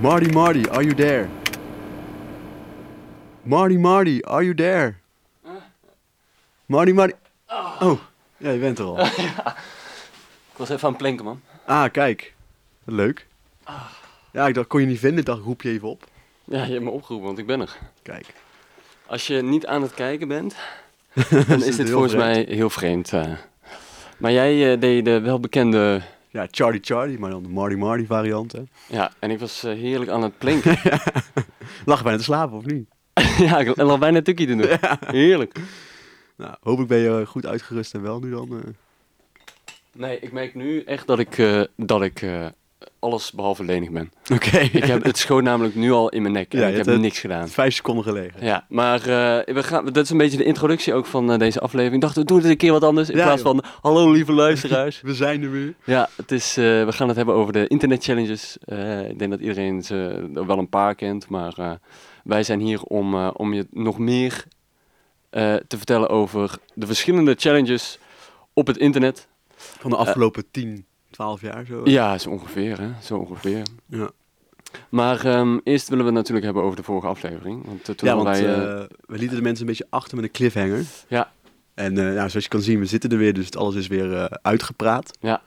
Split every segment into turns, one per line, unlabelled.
Marty Marty, are you there? Marty Marty, are you there? Marty Marty. Oh, ja, je bent er al.
Ik was even aan het plinken, man.
Ah, kijk. Wat Leuk. Ja, ik dacht, kon je niet vinden, dacht roep je even op.
Ja, je hebt me opgeroepen, want ik ben er.
Kijk.
Als je niet aan het kijken bent, dan is
het
dit
heel
volgens
vreemd.
mij heel vreemd. eh. Maar jij eh, deed de welbekende...
Ja, Charlie Charlie, maar dan de Marty Marty variant. Hè.
Ja, en ik was eh, heerlijk aan het plinken.
Lag bijna te slapen, of niet?
ja, ik lag bijna een tukkie te doen. Heerlijk.
Nou, hopelijk ben je eh, goed uitgerust en wel nu dan. eh.
Nee, ik merk nu echt dat ik, eh, dat ik eh, alles behalve lenig ben.
Oké.
Ik heb, het schoot namelijk nu al in mijn nek en
Ja,
ik
je
heb
hebt het-
niks gedaan.
Vijf seconden gelegen.
Ja, maar eh, we gaan, dat is een beetje de introductie ook van eh, deze aflevering. Ik dacht, we doen het een keer wat anders in
Ja,
plaats
joh.
van hallo lieve luisteraars.
We zijn er weer.
ja, het is, eh, we gaan het hebben over de internet challenges. Eh, ik denk dat iedereen ze er wel een paar kent, maar eh, wij zijn hier om, eh, om je nog meer eh, te vertellen over de verschillende challenges op het internet.
Van de afgelopen 10, 12 jaar zo.
Ja, zo ongeveer, hè? Zo ongeveer.
Ja.
Maar ehm, eerst willen we het natuurlijk hebben over de vorige aflevering. Want eh, toen
Ja,
hadden
want
wij... eh,
eh, we lieten de mensen een beetje achter met een cliffhanger.
Ja.
En eh, nou, zoals je kan zien, we zitten er weer, dus het alles is weer eh, uitgepraat.
Ja.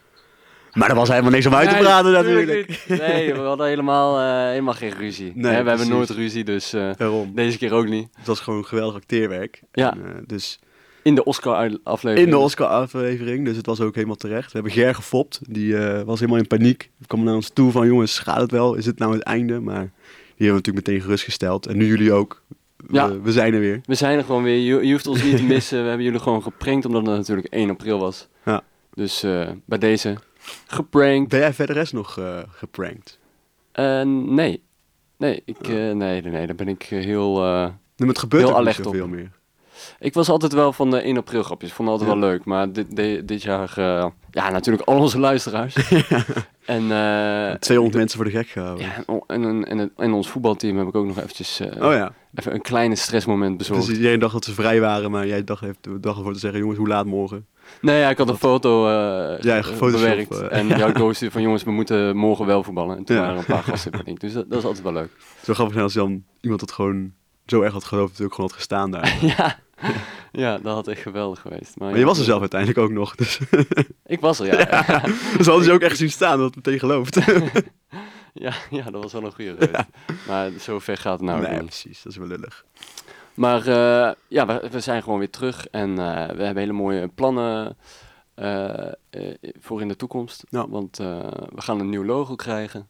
Maar er was helemaal niks om uit te
Nee,
praten natuurlijk.
tuurlijk niet. Nee, we hadden helemaal, eh, helemaal geen ruzie.
Nee,
Hè, we hebben
precies.
nooit ruzie, dus eh,
Daarom.
deze keer ook niet.
Het was gewoon geweldig acteerwerk.
Ja.
En, eh, dus
In de Oscar-aflevering.
in de Oscar-aflevering, dus het was ook helemaal terecht. We hebben Ger gefopt, die eh, was helemaal in paniek. Die kwam naar ons toe van, jongens, gaat het wel? Is het nou het einde? Maar die hebben we natuurlijk meteen gerustgesteld. En nu jullie ook. We-
Ja.
we zijn er weer.
We zijn er gewoon weer. Je, je hoeft ons niet te missen. We hebben jullie gewoon geprankt, omdat het natuurlijk 1 april was.
Ja.
Dus eh, bij deze, geprankt.
Ben jij verder rest nog eh, geprankt?
Eh, nee. Nee, ik, eh, nee, nee, nee, daar ben ik eh, heel... eh,
Nee, maar Nou, het gebeurt
Heel
ook niet
alert op.
zoveel meer.
Ik was altijd wel van de 1 april grapjes. Vond me altijd
Ja.
wel leuk. Maar dit, di- dit jaar... eh, ja, natuurlijk al onze luisteraars. en, eh,
200 mensen voor de gek gehouden.
ja, en, o- en, en, en, en ons voetbalteam heb ik ook nog eventjes... eh,
Oh ja,
Even een kleine stressmoment bezorgd.
dus iedereen dacht dat ze vrij waren, maar jij dacht, heeft, dacht ervoor te zeggen, jongens, hoe laat morgen?
Nee, ja, ik had een foto eh
Ja,
eh,
Photoshop,
bewerkt.
eh.
en jouw coach zei van jongens, we moeten morgen wel voetballen. En toen
Ja.
waren er een paar gasten in paniek. Dus dat, dat is altijd wel leuk.
Zo grappig zijn als dan iemand dat gewoon zo erg had geloofd, dat hij ook gewoon had gestaan daar. Maar
ja. ja, dat had echt geweldig geweest. Maar,
je
ja,
was er zelf uiteindelijk ook nog, dus
Ik was er, ja. Ja,
ze hadden je ook echt zien staan, dat het meteen gelooft.
Nou, ja, dat was wel een goede geweest. Maar zo ver gaat het nou ook
nee,
niet.
precies, dat is wel lullig.
Maar eh, ja, we, we zijn gewoon weer terug. En eh, we hebben hele mooie plannen eh, eh, voor in de toekomst.
Ja.
Want eh, we gaan een nieuw logo krijgen.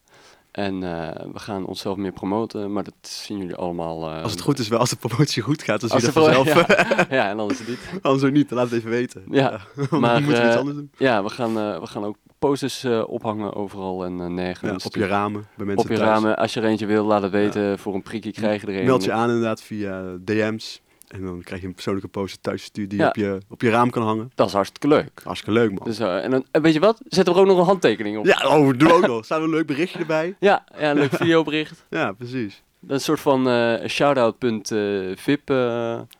En eh, we gaan onszelf meer promoten. Maar dat zien jullie allemaal... eh,
Als het goed is wel, als de promotie goed gaat, dan zie
Als
je dat
de
vanzelf.
pro- Ja, ja, en anders niet.
Anders ook niet, dan laat het even weten.
Ja,
want dan
maar,
moeten we iets
eh,
anders doen.
Ja, we gaan, eh, we gaan ook posters eh, ophangen overal en eh,
Ja,
nergens.
op je ramen, bij mensen
Op je
thuis.
ramen. Als je er eentje wil, laat het weten. Voor een prikkie krijg je er een.
Meld je aan inderdaad via DM's. En dan krijg je een persoonlijke poster thuis gestuurd die
Ja.
op, je, op je raam kan hangen.
Dat is hartstikke leuk.
Hartstikke leuk, man.
Dus, eh, en, dan- en weet je wat? Zet er ook nog een handtekening op.
Ja, oh, doe ook nog. Staat een leuk berichtje erbij.
ja, ja, een leuk videobericht.
Ja, precies.
Dat is Een soort van eh shoutout.vip eh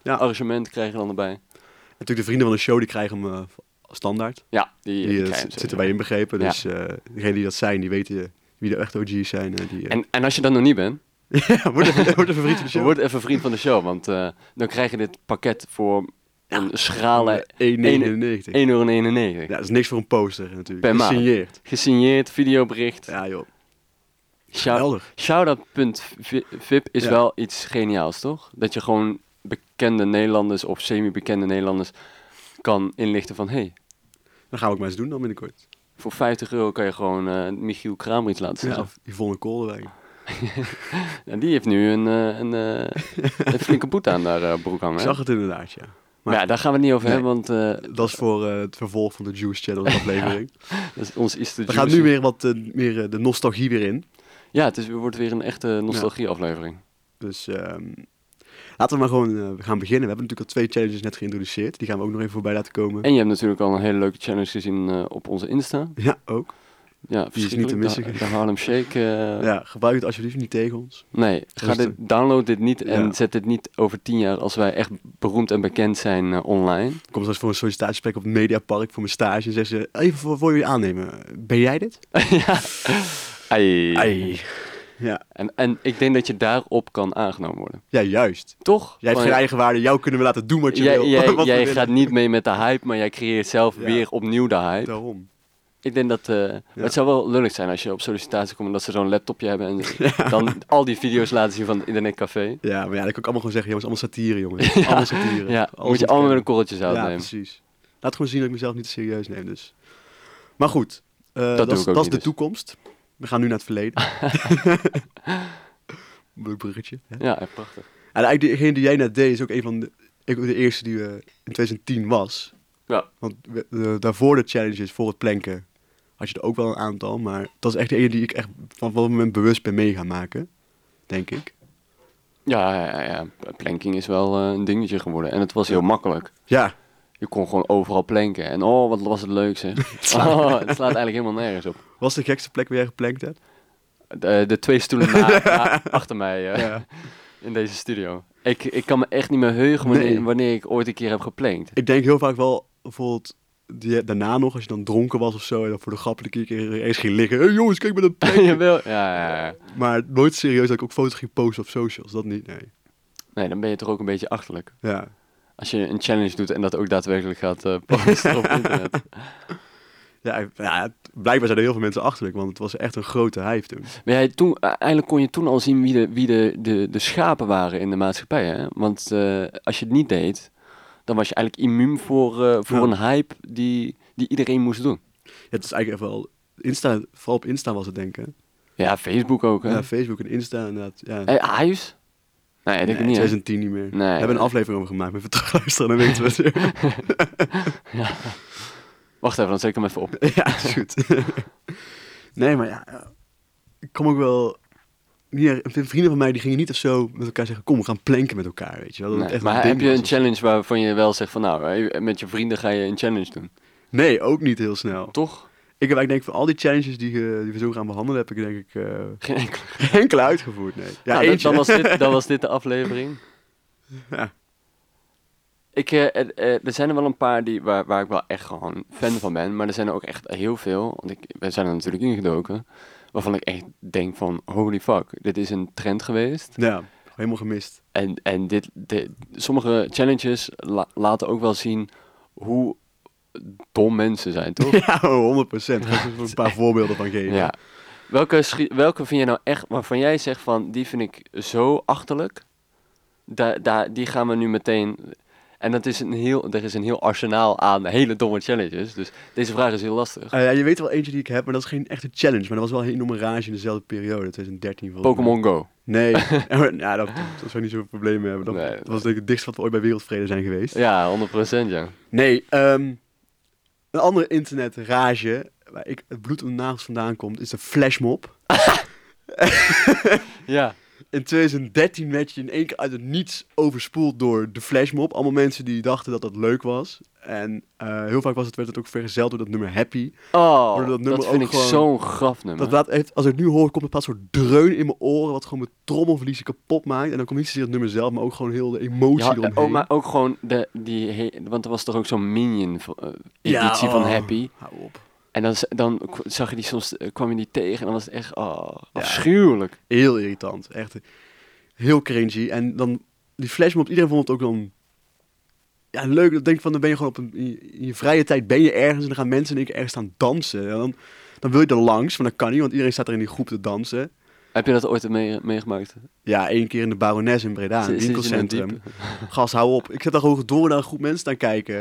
Ja.
arrangement krijg je dan erbij.
En natuurlijk de vrienden van de show, die krijgen hem eh, standaard.
Ja, die,
Die,
die
eh,
krijg je
zit-
zo,
zitten
ja.
wij inbegrepen.
Ja.
Dus eh degenen die dat zijn, die weten eh, wie de echte OG's zijn. eh, die, eh,
En, en als je dat nog niet bent,
ja, wordt een, wordt een favoriet van de show.
word even vriend van de show. Want eh, dan krijg je dit pakket voor een schrale
1,99.
1,99 euro.
Eh, Ja, dat is niks voor een poster natuurlijk.
Per maand.
Gesigneerd.
Gesigneerd, videobericht.
Ja, joh.
Shout-
Geweldig.
Shoutout.vip is
Ja.
wel iets geniaals, toch? Dat je gewoon bekende Nederlanders of semi-bekende Nederlanders kan inlichten van... hey,
Dan gaan we ook maar eens doen dan binnenkort.
voor 50 euro kan je gewoon eh, Michiel Kramer iets laten
Ja.
staan.
Of Yvonne Koolwijn.
En die heeft nu een, eh, een, eh, een flinke boete aan haar eh, broek hangen.
Ik
hè?
zag het inderdaad, ja.
Maar ja, daar gaan we het niet over
Nee.
hebben, want eh,
Dat is voor eh, het vervolg van de Juice Challenge aflevering.
dat is ons iets te
We gaan nu
juicy.
weer wat eh, meer eh, de nostalgie weer in.
Ja, het, is, het wordt weer een echte nostalgie-aflevering.
Dus ehm, laten we maar gewoon eh, gaan beginnen. We hebben natuurlijk al twee challenges net geïntroduceerd. Die gaan we ook nog even voorbij laten komen.
En je hebt natuurlijk al een hele leuke challenge gezien eh, op onze Insta.
Ja, ook.
Ja,
Die is niet te
verschrikkelijk.
missen.
De, de Harlem Shake. eh,
Ja, gebruik het alsjeblieft niet tegen ons.
Nee, ga
Dus
dit, download dit niet en
Ja.
zet dit niet over tien jaar als wij echt beroemd en bekend zijn eh, online.
Ik kom straks voor een sollicitatiegesprek op het Mediapark voor mijn stage. En zeggen ze, even voor, voor jullie aannemen. Ben jij dit?
ja. Ai.
Ai. Ja.
En, en ik denk dat je daarop kan aangenomen worden.
ja, juist.
Toch?
Jij hebt
Van-
geen eigen waarde. Jou kunnen we laten doen wat je
jij,
wil.
jij,
Wat we
jij
willen.
gaat niet mee met de hype, maar jij creëert zelf
Ja.
weer opnieuw de hype.
Daarom.
Ik denk dat... eh, maar Het zou wel lullig zijn als je op sollicitatie komt en dat ze zo'n laptopje hebben en dan al die video's laten zien van het internetcafé.
Ja, maar ja, dat kan ik allemaal gewoon zeggen. Jongens, allemaal satire, jongens. Allemaal satire. Alles
Ja, moet je
ontkennen.
allemaal met een korreltje zout
Ja,
nemen.
precies. Laat gewoon zien dat ik mezelf niet serieus neem dus. Maar goed, eh,
doe
dat, is-
ik
dat
ook niet
is de
dus.
toekomst. We gaan nu naar het verleden. Leuk bruggetje. Hè?
Ja, eh, prachtig.
En eigenlijk degene die jij net deed is ook een van de, ik- de eerste die we in 2010 was.
Ja.
Want we- de- daarvoor de challenges, voor het planken, had je er ook wel een aantal. Maar dat is echt de ene die ik echt van wat moment bewust ben mee gaan maken. Denk ik.
Ja, ja, ja, ja. planking is wel eh, een dingetje geworden. En het was heel makkelijk.
Ja,
Je kon gewoon overal planken. En oh, wat was het leuk zeg. Oh, het slaat eigenlijk helemaal nergens op.
was de gekste plek waar jij geplankt hebt?
De, de twee stoelen na- na- achter mij eh,
Ja.
in deze studio. Ik, ik kan me echt niet meer heugen wanneer,
Nee.
wanneer ik ooit een keer heb geplankt.
Ik denk heel vaak wel, bijvoorbeeld die, daarna nog, als je dan dronken was of zo, en dan voor de grappige keer eens ging liggen. hey, jongens, kijk met dat plek.
Jawel. Ja, ja, ja.
maar nooit serieus dat ik ook foto's ging posten op socials. Dat niet, nee.
Nee, dan ben je toch ook een beetje achterlijk.
Ja.
Als je een challenge doet en dat ook daadwerkelijk gaat eh, posten op internet.
Ja, ik- ja, het- blijkbaar zijn er heel veel mensen achterlijk, want het was echt een grote hype toen.
Maar jij, toen, eh, eigenlijk kon je toen al zien wie de, wie de, de, de schapen waren in de maatschappij. Hè? Want eh, als je het niet deed, dan was je eigenlijk immuun voor, eh, voor
Ja.
een hype die, die iedereen moest doen.
Ja, het is eigenlijk echt wel... Insta, vooral op Insta was het, denk ik. hè?
Ja, Facebook ook. Hè?
Ja, Facebook en Insta inderdaad. Ja.
Hey, Ajaus? Nee, ik
Nee,
denk ik niet. hè?
2010 niet meer.
Nee,
We hebben
nee.
een aflevering over gemaakt, maar even terugluisteren, dan weten we het weer.
Wacht even, dan zet ik hem even op.
ja, is goed. nee, maar ja, eh, ik kom ook wel... Hier, vrienden van mij die gingen niet of zo met elkaar zeggen, kom, we gaan planken met elkaar, weet je wel. Dat het
Nee,
echt
maar
ding
heb je
was
een
of
challenge waarvan je wel zegt van nou, hè, met je vrienden ga je een challenge doen?
zo. Nee, ook niet heel snel.
Toch?
Ik heb eigenlijk denk ik van al die challenges die, eh, die we zo gaan behandelen, heb ik denk ik eh,
Geen enkele.
geen enkele uitgevoerd, nee. Ja,
Nou, dan-
eentje.
Dan, was dit, dan was dit de aflevering.
Ja.
Ik, eh, eh, eh, er zijn er wel een paar die, waar, waar ik wel echt gewoon fan van ben. Maar er zijn er ook echt heel veel. Want ik, we zijn er natuurlijk ingedoken. Waarvan ik echt denk van holy fuck, dit is een trend geweest.
Ja, helemaal gemist.
En, en dit, dit- sommige challenges la- laten ook wel zien hoe dom mensen zijn, toch?
Ja, 100 procent. Ik ga er een paar voorbeelden van geven.
Ja. Welke, schi- welke vind je nou echt waarvan jij zegt van die vind ik zo achterlijk? Da da die gaan we nu meteen. En dat is een heel, er is een heel arsenaal aan hele domme challenges. Dus deze vraag is heel lastig.
Eh, ja, je weet wel eentje die ik heb, maar dat is geen echte challenge. Maar dat was wel een enorme rage in dezelfde periode, 2013 volgens mij.
Pokémon Go.
Nee, ja, dat, dat zou niet zo'n probleem hebben. Dat,
Nee,
dat was denk ik het dichtst wat we ooit bij Wereldvrede zijn geweest.
Ja, 100% ja.
Nee, ehm, een andere internetrage waar ik het bloed om de nagels vandaan komt, is de flashmob.
Ja.
In 2013 werd je in één keer uit het niets overspoeld door de flashmob. Allemaal mensen die dachten dat dat leuk was. En eh, heel vaak was het, werd het ook vergezeld door dat nummer Happy.
Oh,
Worden dat
dat,
nummer ook
vind ik
gewoon-
zo'n graf nummer.
Dat laat, heeft- als ik het nu hoor, komt een bepaald soort dreun in mijn oren, wat gewoon mijn trommelverliezen kapot maakt. En dan komt niet zozeer het nummer zelf, maar ook gewoon heel de emotie
Ja,
eromheen.
oh, maar ook gewoon de, die, he- want er was toch ook zo'n minion eh,
Ja,
editie van
oh.
Happy.
Hou op.
En dan, z- dan k- zag je die soms, eh, kwam je die tegen en dan was het echt oh,
Ja.
afschuwelijk.
Heel irritant. Echt heel cringy. En dan die flashmob, iedereen vond het ook dan... Ja, leuk. Dan denk ik van, dan ben je gewoon op een... In je, in je vrije tijd ben je ergens en dan gaan mensen in één keer ergens staan dansen. En dan, dan wil je er langs, maar dat kan niet, want iedereen staat er in die groep te dansen.
Heb je dat ooit mee, meegemaakt?
Ja, één keer in de Barones in Breda, in
Zit-
het
zit je in een
winkelcentrum.
diepe?
Gas, hou op. Ik zit daar gewoon door naar een groep mensen staan kijken.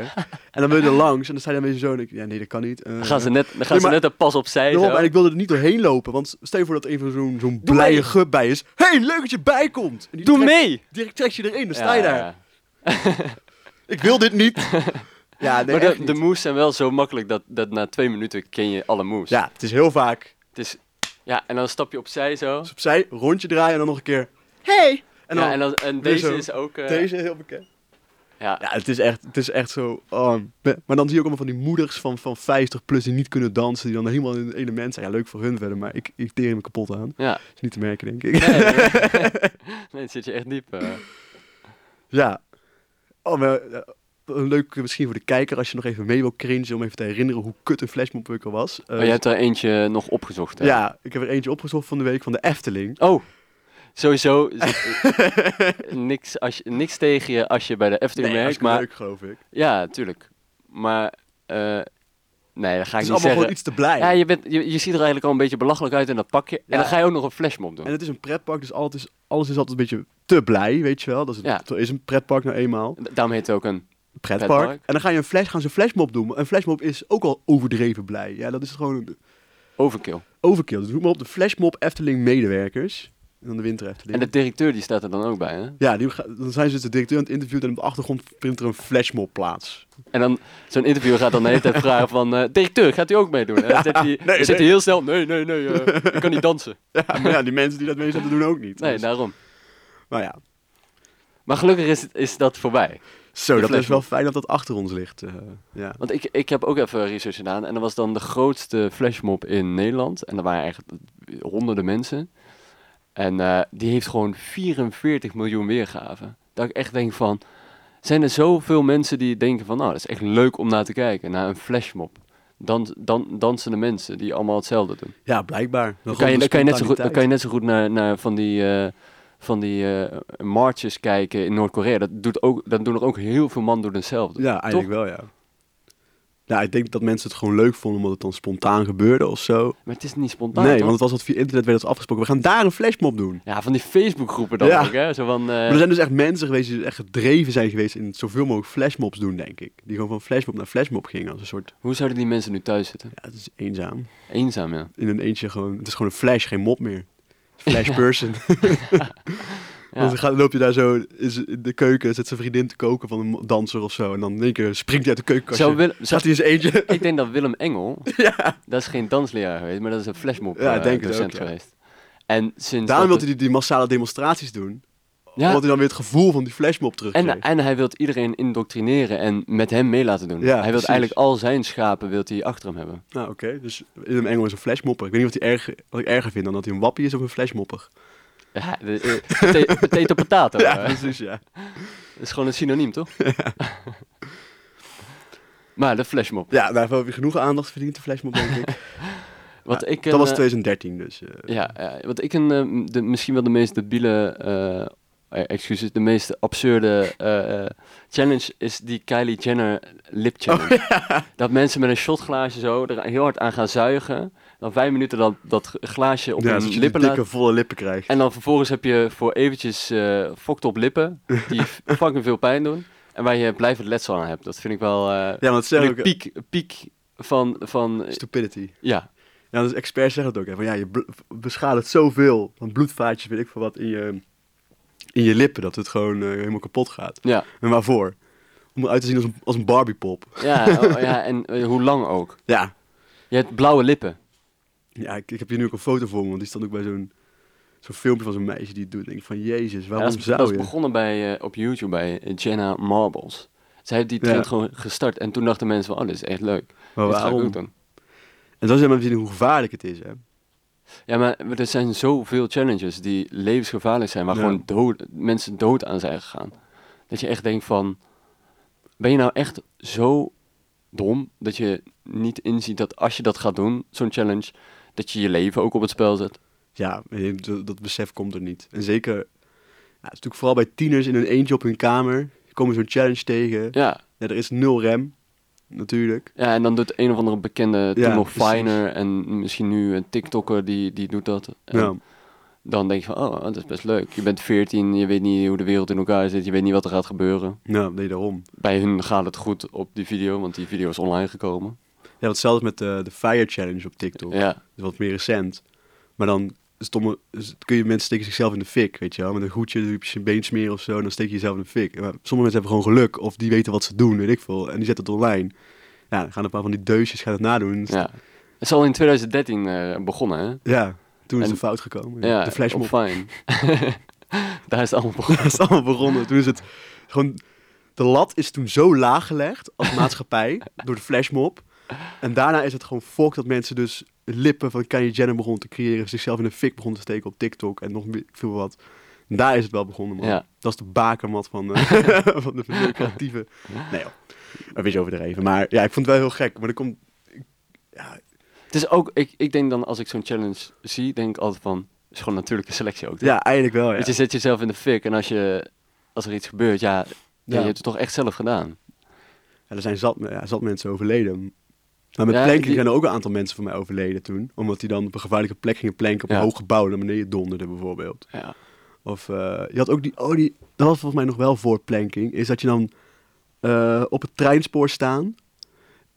En dan wil je er langs en dan sta je daar een beetje zo en ik... Ja, nee, dat kan niet. Eh,
Dan gaan ze net, dan gaan
Nee,
ze
maar-
net een pas opzij.
daarom,
zo.
en ik wilde er niet doorheen lopen, want stel je voor dat er even zo'n zo'n
Doe
blije
mee.
gup bij is. hey, leuk dat je bij komt! En die
Doe
trekt-
mee!
Direct trek je erin, dan
Ja,
sta je
ja,
daar.
ja.
Ik wil dit niet. ja, nee,
maar de,
echt
de
niet.
moves zijn wel zo makkelijk dat, dat na twee minuten ken je alle moves.
ja, het is heel vaak.
Het is, ja, en dan stap je opzij zo.
Dus opzij, rondje draaien en dan nog een keer. Hey! En dan,
ja, en, dan, en
weer
deze
zo.
is ook... eh,
deze heel bekend.
Ja.
Ja, het is echt, het is echt zo. oh, me- maar dan zie je ook allemaal van die moeders van, van 50 plus die niet kunnen dansen, die dan helemaal in het element zijn. Ja, leuk voor hun verder, maar ik, ik teer hem kapot aan.
ja.
Is niet te merken, denk ik.
Nee, nee, nee. Nee, dan zit je echt diep. eh.
ja. Oh, maar, eh, een leuk eh, misschien voor de kijker als je nog even mee wil cringen om even te herinneren hoe kut een flashmob ook al was. Eh,
Oh, jij hebt er eentje nog opgezocht, hè?
ja, ik heb er eentje opgezocht van de week van de Efteling.
Oh, sowieso. z- niks, als je, niks tegen je als je bij de Efteling
Nee,
werkt.
hartstikke
Maar,
leuk geloof ik.
ja, tuurlijk. Maar, eh, nee, dat ga
Het
ik
is
niet
allemaal gewoon
zeggen.
iets te blij.
Ja, je, bent, je, je ziet er eigenlijk al een beetje belachelijk uit in dat pakje.
Ja.
En dan ga je ook nog een flashmob doen.
En het is een pretpark, dus alles is, alles is altijd een beetje te blij, weet je wel. Dat is,
Ja.
dat is een pretpark nou eenmaal.
Da- Daarom heet het ook een...
pretpark.
Pretpark.
En dan ga je een flash, gaan ze een flashmob doen. Maar Een flashmob is ook al overdreven blij. Ja, dat is gewoon een
Overkill.
overkill. Dus noem maar op de flashmob Efteling medewerkers. En dan de winter
En
Efteling.
de directeur die staat er dan ook bij, hè?
Ja, die ga- dan zijn ze dus de directeur aan het interview en op de achtergrond vindt er een flashmob plaats.
En dan, zo'n interviewer gaat dan de hele tijd vragen van... eh, directeur, gaat u ook meedoen? En dan zit hij, dan
nee,
zit hij heel snel... Nee, nee, nee, eh, ik kan niet dansen.
Ja, maar ja, die mensen die dat mee zetten doen ook niet.
Nee,
Dus,
daarom.
nou ja,
Maar gelukkig is, het- is dat voorbij.
zo,
Die
dat is
flashmob.
wel fijn dat dat achter ons ligt. eh, ja.
Want ik, ik heb ook even research gedaan. En dat was dan de grootste flashmob in Nederland. En er waren eigenlijk honderden mensen. En eh, die heeft gewoon 44 miljoen weergaven. Dat ik echt denk van... Zijn er zoveel mensen die denken van... Nou, dat is echt leuk om naar te kijken. Naar een flashmob. Dan, dan, dansende mensen die allemaal hetzelfde doen.
ja, blijkbaar.
Dan kan, je, dan, kan je net zo goed, dan kan je net zo goed naar, naar van die, eh, van die eh, marches kijken in Noord-Korea. Dat, doet ook- dat doen er ook heel veel man doen hetzelfde.
Ja, eigenlijk wel, ja. Nou, ik denk dat mensen het gewoon leuk vonden omdat het dan spontaan gebeurde of zo.
Maar het is niet spontaan,
nee,
toch? Eh.
want het was dat via internet werd dat afgesproken. We gaan daar een flashmob doen.
Ja, van die Facebookgroepen dan
Ja.
ook, hè? Zo van, eh,
Maar er zijn dus echt mensen geweest die echt gedreven zijn geweest in zoveel mogelijk flashmobs doen, denk ik. Die gewoon van flashmob naar flashmob gingen als een soort...
Hoe zouden die mensen nu thuis zitten?
Ja, het is eenzaam.
Eenzaam, ja.
In een eentje gewoon... Het is gewoon een flash, geen mob meer. Flash person. Want
ja.
dan ga- loop je daar zo is in de keuken, zet zijn vriendin te koken van een mo- danser of zo. En dan in één keer springt hij uit de keukenkastje.
Zou Willem, zou-
Zat hij in zijn eentje.
ik denk dat Willem Engel, dat is geen dansleraar geweest, maar dat is een flashmob
Ja,
ja,
ik denk het
docent
ook, ja.
geweest. En sinds
Daarom wil
dat
hij
het-
die, die massale demonstraties doen.
ja,
Omdat hij dan weer het gevoel van die flashmob terugkrijgt.
en, eh, en hij wil iedereen indoctrineren en met hem mee laten doen.
Ja,
hij wil
precies.
eigenlijk al zijn schapen wilt hij achter hem hebben.
Nou, oké. Dus Willem Engel is een flashmopper. Ik weet niet wat, hij erg, wat ik erger vind dan dat hij een wappie is of een flashmopper.
Ja, de, eh, pota- potato potato.
Ja,
hè.
precies, ja.
Dat is gewoon een synoniem, toch? maar de flashmob.
Ja, nou, daarvoor heb je genoeg aandacht verdiend, de flashmob, denk ik.
Wat
Ja,
ik
dat
een,
was
eh,
2013, dus... eh,
Ja, ja, wat ik een, eh, de, misschien wel de meest debiele, eh, eh, excuses, de meest absurde eh, eh, challenge is die Kylie Jenner lip
Oh,
challenge. Dat mensen met een shotglaasje zo er heel hard aan gaan zuigen. Dan vijf minuten dat, dat g- glaasje op
ja,
hun
dat je die
lippen
dikke,
laten.
volle lippen krijgt.
En dan vervolgens heb je voor eventjes eh fokt op lippen, die f- fucking veel pijn doen. En waar je blijvend letsel aan hebt. Dat vind ik wel eh,
Ja, want dat
vind
zeggen
ik
ook...
piek, piek van, van eh,
Stupidity.
ja,
Ja, dus experts zeggen het ook. Hè, van, ja, je bl- beschadigt zoveel van bloedvaatjes, weet ik veel wat, in je, in je lippen. Dat het gewoon eh, helemaal kapot gaat.
ja.
En waarvoor? Om eruit te zien als een, als een Barbiepop.
Ja, oh, ja, en eh, hoe lang ook.
Ja.
Je hebt blauwe lippen.
Ja, ik, ik heb hier nu ook een foto voor me, want die stond ook bij zo'n zo'n filmpje van zo'n meisje die het doet. Ik denk van, jezus,
Ja,
waarom
dat is,
zou
dat is
je?
begonnen bij, eh, op YouTube bij eh, Jenna Marbles. Zij heeft die
Ja.
trend gewoon gestart en toen dachten mensen van, oh, dit is echt leuk.
Maar
dit ga ik
waarom?
ook doen.
En dan zijn we even zien hoe gevaarlijk het is, hè.
Ja, maar er zijn zoveel challenges die levensgevaarlijk zijn, waar
Ja.
gewoon dood, mensen dood aan zijn gegaan. Dat je echt denkt van, ben je nou echt zo dom dat je niet inziet dat als je dat gaat doen, zo'n challenge, dat je je leven ook op het spel zet?
Ja, eh, dat, dat besef komt er niet. En zeker, ja, het is natuurlijk vooral bij tieners in hun eentje op hun kamer. Komen zo'n challenge tegen. Ja.
Ja,
er is nul rem, natuurlijk.
Ja, en dan doet een of andere bekende, toen
Ja,
nog
precies.
Finer en misschien nu een TikToker, die, die doet dat. En
Ja.
Dan denk je van, oh, dat is best leuk. Je bent 14, je weet niet hoe de wereld in elkaar zit, je weet niet wat er gaat gebeuren.
Nou, nee, daarom.
Bij hun gaat het goed op die video, want die video is online gekomen.
Ja, want zelfs met de, de Fire Challenge op TikTok.
Ja,
Dat is wat meer recent. Maar dan stomme, dus kun je mensen steken zichzelf in de fik, weet je wel. Met een goedje, doe je op je been smeren of zo, en dan steek je jezelf in de fik. Maar sommige mensen hebben gewoon geluk, of die weten wat ze doen, weet ik veel. En die zetten het online. Ja, dan gaan een paar van die deusjes gaan het nadoen. Ja,
ja. Het is al in 2013 eh, begonnen, hè?
toen is
En-
de fout gekomen.
Ja,
de
op
flashmob.
Fine. Daar is het allemaal begonnen.
Dat is allemaal begonnen. Toen is het gewoon... De lat is toen zo laag gelegd als maatschappij door de flashmob. En daarna is het gewoon fok dat mensen dus lippen van Kanye Jenner begonnen te creëren. Zichzelf in de fik begonnen te steken op TikTok en nog meer- veel wat. Daar is het wel begonnen, man.
Ja.
Dat is de bakermat van, eh, van de creatieve... Nee joh, een beetje overdreven. Maar ja, ik vond het wel heel gek. Maar dan komt... Ja,
Het is ook, ik, ik denk dan als ik zo'n challenge zie, denk ik altijd van, het is gewoon natuurlijke selectie ook. toch?
ja, eigenlijk wel, ja.
Want je zet jezelf in de fik en als, je, als er iets gebeurt, ja, ja, je
Ja.
hebt het toch echt zelf gedaan.
Ja, er zijn zat, ja, zat mensen overleden. Maar met
Ja,
planking
die-
zijn er ook een aantal mensen van mij overleden toen. Omdat die dan op een gevaarlijke plek gingen planken op
Ja.
een hoog gebouw en naar beneden donderde bijvoorbeeld.
Ja.
Of eh, je had ook die, oh die, dat was volgens mij nog wel voor planking, is dat je dan eh, op het treinspoor staan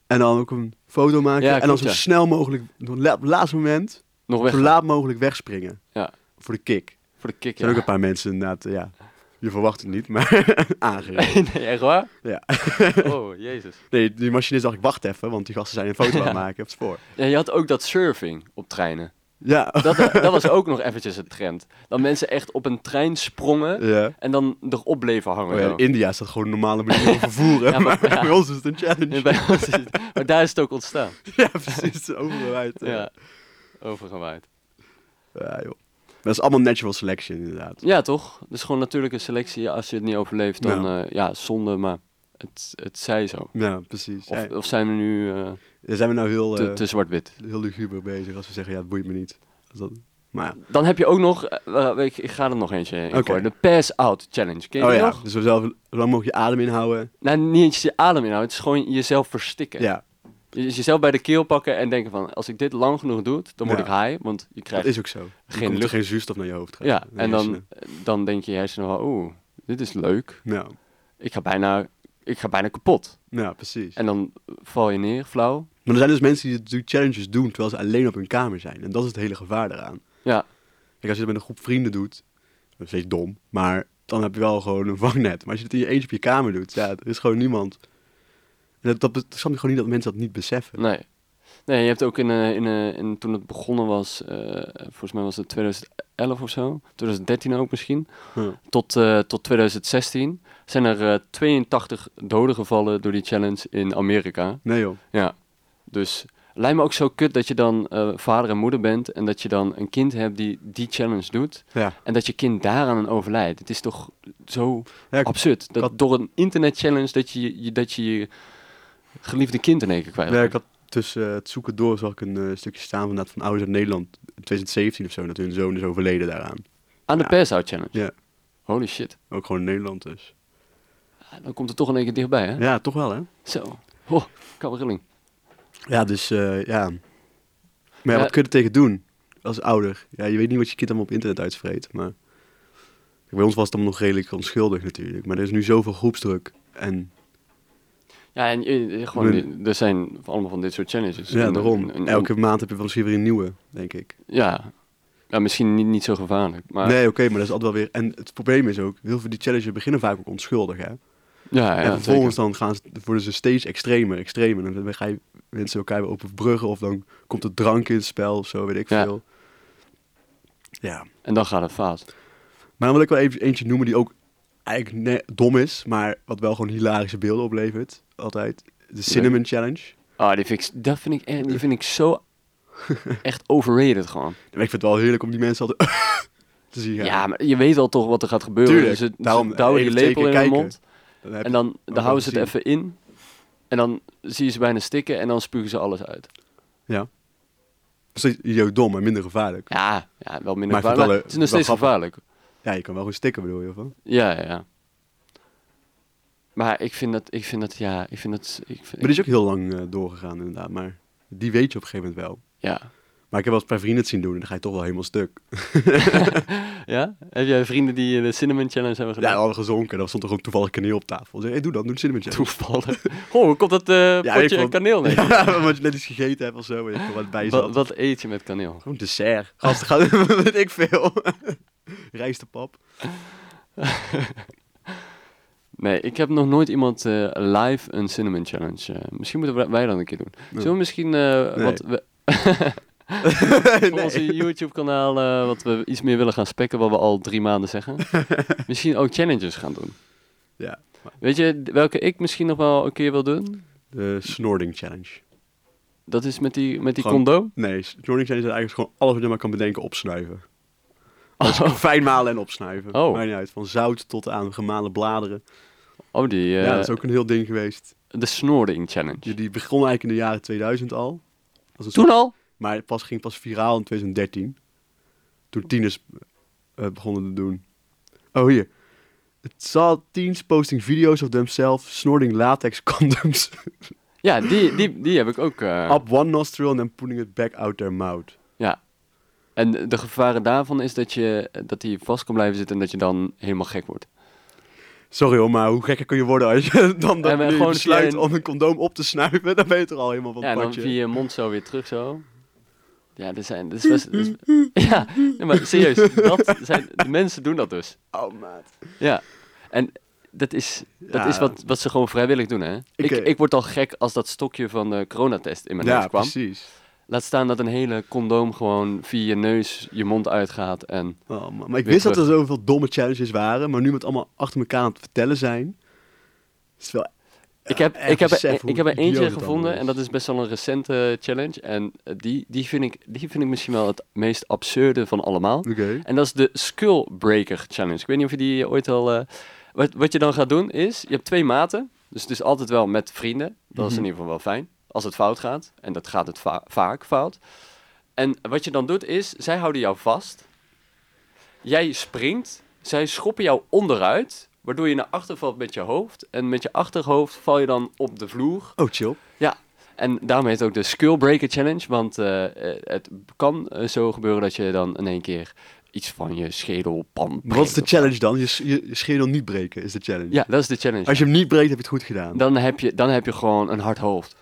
en dan ook een foto maken
Ja,
en dan
klopt,
zo
ja.
snel mogelijk, op het la- op het laatste moment,
Nog weg
zo laat mogelijk wegspringen.
Ja.
Voor de kick. Er
voor de kick.
zijn
Ja.
ook een paar mensen inderdaad, eh, ja, je verwacht het niet, maar aangereden.
nee, echt waar?
Ja.
Oh, jezus.
Nee, die machinist dacht ik, wacht even, want die gasten zijn een foto aan het maken op het spoor.
Ja, je had ook dat surfing op treinen.
Ja.
Dat, eh, dat was ook nog eventjes een trend. Dat mensen echt op een trein sprongen
ja.
en dan erop bleven hangen.
Oh ja,
zo.
in India is dat gewoon een normale manier van vervoeren,
Ja, maar-
maar,
ja.
bij ons is het een challenge.
Ja,
Ja,
bij ons is het- maar daar is het ook ontstaan.
precies, overal uit. eh.
Ja. Overgewaaid.
Ja, joh. Dat is allemaal natural selection, inderdaad.
Ja, toch? Dus gewoon natuurlijke selectie. Als je het niet overleeft, dan ja, ja zonde, maar het, het zij zo.
Ja, precies.
Of,
Ja,
of zijn we nu eh,
daar zijn we nou heel,
te,
eh,
te zwart-wit?
heel luguber bezig als we zeggen, ja, het boeit me niet. Als dat- Maar ja.
Dan heb je ook nog, eh, eh, ik, ik ga er nog eentje in
Oké.
gooien. De pass-out challenge. Ken je
Oh
die
ja,
nog?
dus we zelf zo lang mogelijk je adem inhouden.
Nou, niet eens je adem inhouden. Het is gewoon jezelf verstikken.
Ja,
Je- jezelf bij de keel pakken en denken van... als ik dit lang genoeg doe, dan word
Ja.
ik high. Want je
dat
krijgt...
is ook zo. Er
Geen
komt
lucht.
geen zuurstof naar je hoofd. gaat,
ja,
naar je
en dan,
hersenen.
dan denk je je hersenen van... oeh, dit is leuk.
Ja,
Ik ga, bijna, ik ga bijna kapot.
ja precies.
En dan val je neer, flauw.
Maar er zijn dus mensen die natuurlijk challenges doen terwijl ze alleen op hun kamer zijn. En dat is het hele gevaar daaraan.
Ja,
Kijk, als je het met een groep vrienden doet, dat is steeds dom, maar dan heb je wel gewoon een vangnet. Maar als je het in je eentje op je kamer doet, ja, er is gewoon niemand. En dat, dat, be- dat snap ik gewoon niet dat mensen dat niet beseffen.
nee. Nee, je hebt ook in, eh, in, eh, in toen het begonnen was... eh, volgens mij was het 2011 of zo. 2013 ook misschien.
Ja.
Tot, eh, tot 2016 zijn er eh, 82 doden gevallen door die challenge in Amerika.
Nee joh.
Ja, dus lijkt me ook zo kut dat je dan eh, vader en moeder bent en dat je dan een kind hebt die die challenge doet
Ja.
en dat je kind daaraan een overlijdt. Het is toch zo
Ja, ik-
absurd dat
had-
door een internet challenge dat je je, dat je, je geliefde kind in één keer kwijt.
Ja, ik
raakt.
had tussen eh, het zoeken door zag ik een eh, stukje staan van, van ouders uit Nederland in 2017 of zo, dat hun zoon is overleden daaraan.
Aan de
ja.
persout challenge.
Ja,
Holy shit.
ook gewoon in Nederland dus.
Ja, Dan komt het toch in één keer dichtbij, hè?
Ja, toch wel hè?
Zo. Oh, kabberilling.
Ja, dus eh, ja. Maar ja,
Ja.
wat kun je er tegen doen als ouder? Ja, je weet niet wat je kind allemaal op internet uitvreet, maar... Kijk, Bij ons was het allemaal nog redelijk onschuldig natuurlijk, maar er is nu zoveel groepsdruk. En
Ja, en eh, eh, gewoon,
Mijn-
er zijn allemaal van dit soort challenges.
ja,
En- eh,
daarom.
en- en-
Elke maand heb je wel misschien weer een nieuwe, denk ik.
Ja. ja, misschien niet, niet zo gevaarlijk, maar...
Nee, oké, maar dat is altijd wel weer... En het probleem is ook, heel veel die challenges beginnen vaak ook onschuldig, hè?
ja, ja,
en vervolgens
zeker.
dan gaan ze, worden ze steeds extremer, extremer. En dan ga je mensen elkaar weer op bruggen of dan komt er drank in het spel of zo, weet ik
Ja.
veel. Ja.
En dan gaat het fout.
Maar dan wil ik wel even eentje noemen die ook eigenlijk ne- dom is, maar wat wel gewoon hilarische beelden oplevert. Altijd. De Cinnamon Challenge.
Ah, die vind ik, dat vind ik, echt, die vind ik zo echt overrated gewoon.
En ik vind het wel heerlijk om die mensen altijd te zien
Ja.
gaan.
maar je weet al toch wat er gaat gebeuren.
Tuurlijk,
dus het, ze
daarom eh,
douwen die
even twee
lepel
keer
in hun
kijken.
mond
Dan heb
en
je-
dan,
ook
dan
wel
houden ze het even in. En dan zie je ze bijna stikken en dan spugen ze alles uit.
ja. Steeds idioot dom, maar minder gevaarlijk. Ja,
Ja, ja wel minder
Maar ik vind het
gevaarlijk.
wel
maar
leuk,
het is nog
wel
steeds gevaarlijk.
je kan wel gewoon stikken bedoel je van.
Ja, ja, ja. Maar ik vind dat, ik vind dat, ja, ik vind dat, ik vind,
Maar die is ook heel lang eh, doorgegaan inderdaad, maar die weet je op een gegeven moment wel.
ja.
Maar ik heb wel eens bij vrienden het zien doen en dan ga je toch wel helemaal stuk.
Ja? Heb jij vrienden die eh, de Cinnamon Challenge hebben
Ja,
gedaan?
al gezonken. Dan stond er gewoon toevallig kaneel op tafel. Zeg, hey, doe dan, doe de cinnamon challenge.
Toevallig. Oh, hoe komt dat eh
Ja,
potje
ik vond-
kaneel? Nee.
Ja, omdat je net iets gegeten hebt of zo. En je er wat bij zat.
Wat, wat eet je met kaneel?
Gewoon dessert. Gasten gaan, weet ik veel. Rijstepap.
Nee, ik heb nog nooit iemand eh, live een cinnamon challenge. eh, misschien moeten we- wij dat een keer doen. Zullen we misschien eh,
Nee.
wat we, op onze YouTube kanaal eh, wat we iets meer willen gaan spekken, wat we al drie maanden zeggen. misschien ook challenges gaan doen.
Ja,
Weet je d- welke ik misschien nog wel een keer wil doen?
de snorting challenge.
Dat is met die, met die
Gewoon-
condoom.
Nee, snorting challenge is eigenlijk gewoon alles wat je maar kan bedenken opsnuiven. Dus fijn malen en opsnuiven.
Oh.
Maakt niet uit. Van zout tot aan gemalen bladeren.
Oh, die eh,
ja, dat is ook een heel ding geweest.
de snoring challenge.
Die, die begon eigenlijk in de jaren 2000 al. Als een soort-
Toen al?
Maar het pas, ging pas viraal in 2013. Toen tieners eh, begonnen te doen. Oh, hier. Het zal teens posting video's of themselves snorting latex condoms
Ja, die, die, die heb ik ook. eh,
up one nostril and then putting it back out their mouth.
Ja. En de gevaren daarvan is dat, je, dat die vast kan blijven zitten en dat je dan helemaal gek wordt.
Sorry hoor, maar hoe gekker kun je worden als je dan dat
maar
je
gewoon
besluit
via een-
om een condoom op te snuiven? Dan ben je er al helemaal van
ja,
het
en dan
padje.
via je mond zo weer terug zo. Ja, dat zijn... Dat is best, dat is- ja, nee, maar serieus. Dat zijn, de mensen doen dat dus.
Oh, maat.
Ja. En dat is, dat
Ja.
is wat, wat ze gewoon vrijwillig doen, hè? Ik,
eh,
ik word al gek als dat stokje van de coronatest in mijn
Ja,
neus kwam.
precies.
Laat staan dat een hele condoom gewoon via je neus je mond uitgaat en...
Oh, man. Maar ik
Weer
wist dat er
terug.
zoveel domme challenges waren, maar nu we het allemaal achter elkaar aan het vertellen zijn, is het wel
Ik heb,
echt
ik heb, er, e-
besef
ik-
hoe
ik heb er
idioot
eentje
het allemaal
gevonden
is.
en dat is best wel een recente challenge. En eh, die, die, vind ik, die vind ik misschien wel het meest absurde van allemaal.
Oké.
En dat is de Skull Breaker Challenge. Ik weet niet of je die ooit al... eh, wat, wat je dan gaat doen is, je hebt twee maten. Dus het is altijd wel met vrienden. Dat is in ieder geval wel fijn. Als het fout gaat. En dat gaat het va- vaak fout. En wat je dan doet is, zij houden jou vast. Jij springt. Zij schoppen jou onderuit. Waardoor je naar achter valt met je hoofd. En met je achterhoofd val je dan op de vloer.
Oh, chill.
Ja, en daarom heet het ook de Skull Breaker Challenge. Want eh, eh, het kan eh, zo gebeuren dat je dan in één keer iets van je schedel pan.
Maar wat is de
breekt.
challenge dan? Je, s- je, je schedel niet breken is de challenge.
Ja, dat is de challenge.
Als je hem niet breekt, heb je het goed gedaan.
Dan, heb je, dan heb je gewoon een hard hoofd.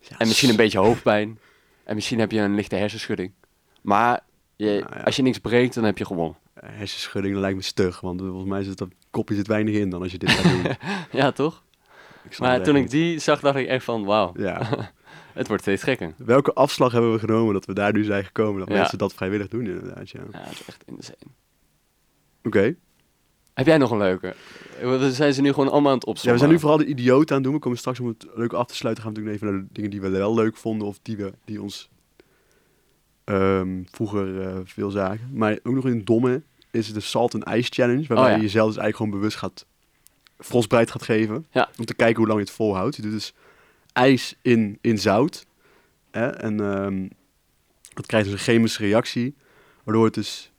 Ja,
En misschien een
s-
beetje hoofdpijn. En misschien heb je een lichte hersenschudding. Maar je,
Nou ja.
als je niks breekt, dan heb je gewonnen.
Hersenschudding dat lijkt me stug, want volgens mij zit dat kopje zit weinig in dan als je dit gaat doen. Ik
Ja, toch?
snap het
Maar
echt
toen ik
niet.
die zag, dacht ik echt van, wauw,
Ja.
het wordt steeds gekker.
Welke afslag hebben we genomen dat we daar nu zijn gekomen? Dat
Ja.
mensen dat vrijwillig doen inderdaad, ja. Oké.
Ja, het is echt insane. Heb jij nog een leuke? Eh, We zijn ze nu gewoon allemaal aan het opzoeken.
Ja, we zijn nu vooral de idioot aan het doen. We komen straks om het leuk af te sluiten. Gaan we natuurlijk even naar de dingen die we wel leuk vonden. Of die, we, die ons ehm, vroeger eh, veel zagen. Maar ook nog in het domme is de Salt and Ice Challenge. Waarbij
Oh ja.
je jezelf dus eigenlijk gewoon bewust gaat frostbreid gaat geven.
Ja.
Om te kijken hoe lang je het volhoudt. Je doet dus ijs in, in zout. Hè? En ehm, dat krijgt dus een chemische reactie. Waardoor het dus,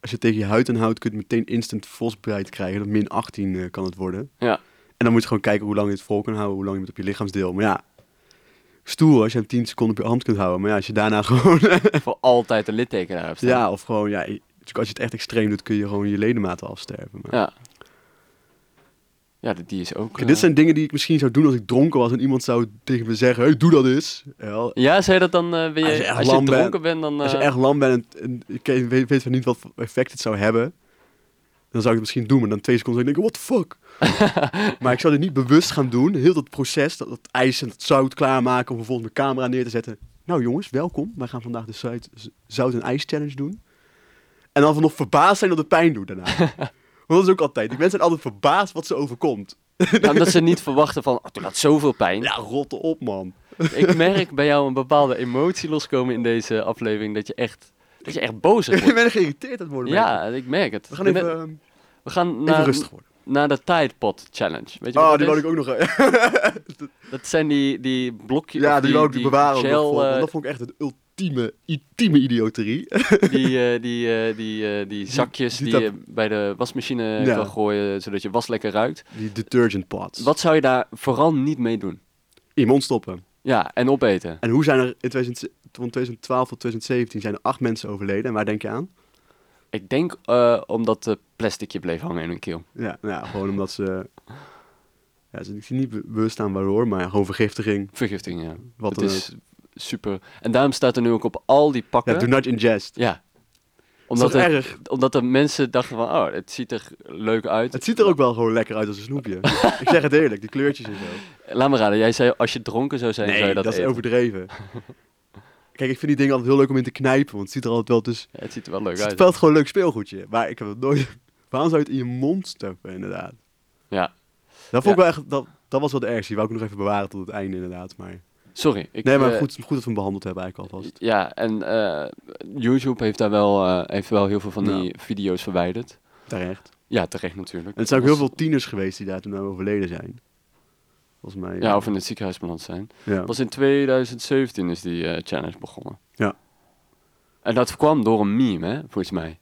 als je het tegen je huid aanhoudt, kun je het meteen instant frostbreid krijgen. Dat min 18 eh, kan het worden.
Ja.
En dan moet je gewoon kijken hoe lang je het vol kan houden, hoe lang je het op je lichaamsdeel. Maar ja, stoel als je hem 10 seconden op je hand kunt houden. Maar ja, als je daarna gewoon.
voor altijd een litteken daar hebt staan.
ja, of gewoon, ja, je- als je het echt extreem doet, kun je gewoon je ledematen afsterven. Maar...
Ja. Ja, die- die is ook...
Oké,
eh,
dit zijn dingen die ik misschien zou doen als ik dronken was en iemand zou tegen me zeggen: hey, doe dat eens. Ja,
Ja, zei dat dan... eh ben je,
Als
als
je echt
je,
lam
dronken bent, dan...
als je
eh,
echt lam bent en, en ik weet, weet- weet van niet wat voor effect het zou hebben, dan zou ik het misschien doen. Maar dan twee seconden zou ik denken: what the fuck? maar ik zou dit niet bewust gaan doen. Heel dat proces, dat, dat ijs en dat zout klaarmaken om vervolgens mijn camera neer te zetten. Nou jongens, welkom. Wij gaan vandaag de zout, z- zout en ijs challenge doen. En dan van nog verbaasd zijn dat het pijn doet daarna. Want dat is ook altijd. Die mensen zijn altijd verbaasd wat ze overkomt.
nou, omdat ze niet verwachten van... Oh, toen had zoveel pijn.
Ja, rotte op man.
Ik merk bij jou een bepaalde emotie loskomen in deze aflevering. Dat je echt, dat je echt boos
Ik
wordt.
ben geïrriteerd aan het worden. merk ik.
ja, ik merk het.
We gaan
Ik ben-
even, ehm, even
we gaan naar,
rustig worden.
naar de Tide Pod Challenge. Weet je
Oh,
wat
die
dat
wou
is?
ik ook nog... eh,
Dat zijn die, die blokjes...
ja, die wou ik bewaren. ook nog
gel,
voor, want
eh,
dat vond ik echt het ultieme, ultieme idioterie.
die, eh, die, eh, die, eh, die zakjes
die
die,
dat-
je bij de wasmachine
Ja.
kan gooien, zodat je was lekker ruikt.
Die detergent pots.
Wat zou je daar vooral niet mee doen?
In je mond stoppen.
Ja, en opeten.
En hoe zijn er in 2000 van 2012 tot 2017 zijn er acht mensen overleden. En waar denk je aan?
Ik denk eh, omdat de plasticje bleef hangen in hun keel.
Ja, nou ja gewoon omdat ze... Ja, ze zijn niet be- bewust aan waardoor, maar gewoon vergiftiging.
Vergifting, ja.
Wat
het
dan
is super. En daarom staat er nu ook op al die
Ja,
pakken.
do not ingest.
Ja.
Dat is
Omdat,
toch
er,
erg?
omdat de mensen dachten van, oh, het ziet er leuk uit.
Het ziet er ook wel gewoon lekker uit als een snoepje. ik zeg het eerlijk, die kleurtjes en zo.
Laat me raden, jij zei als je dronken zou zijn, zou
Nee,
je dat,
dat, is
eten.
overdreven. Kijk, ik vind die dingen altijd heel leuk om in te knijpen, want het ziet er altijd wel dus tussen.
Ja, het ziet er wel leuk
Het is
uit.
wel gewoon een leuk speelgoedje, maar ik heb het nooit... Waarom zou je het in je mond stoppen, inderdaad?
Ja.
Dat vond ik wel echt... Dat, dat was wel de ergste, die wou ik nog even bewaren tot het einde, inderdaad. Maar
Sorry. Ik,
nee, maar
eh,
goed, goed dat we hem behandeld hebben eigenlijk alvast.
Ja, en eh, YouTube heeft daar wel, eh, heeft wel heel veel van
Ja.
die video's verwijderd.
Terecht.
Ja, terecht natuurlijk.
En er zijn ook heel
Dat
veel tieners geweest die daar toen aan overleden zijn. Volgens mij.
is- Ja, of in het ziekenhuis beland zijn.
ja.
Pas in 2017 is die eh, challenge begonnen.
Ja.
En dat kwam door een meme, hè, volgens mij.